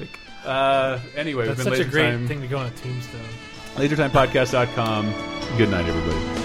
A: Uh, anyway, we've been
C: That's such a
A: Laser
C: great
A: Time-
C: thing to go on a tombstone.
A: LaserTimePodcast.com. Good night, everybody.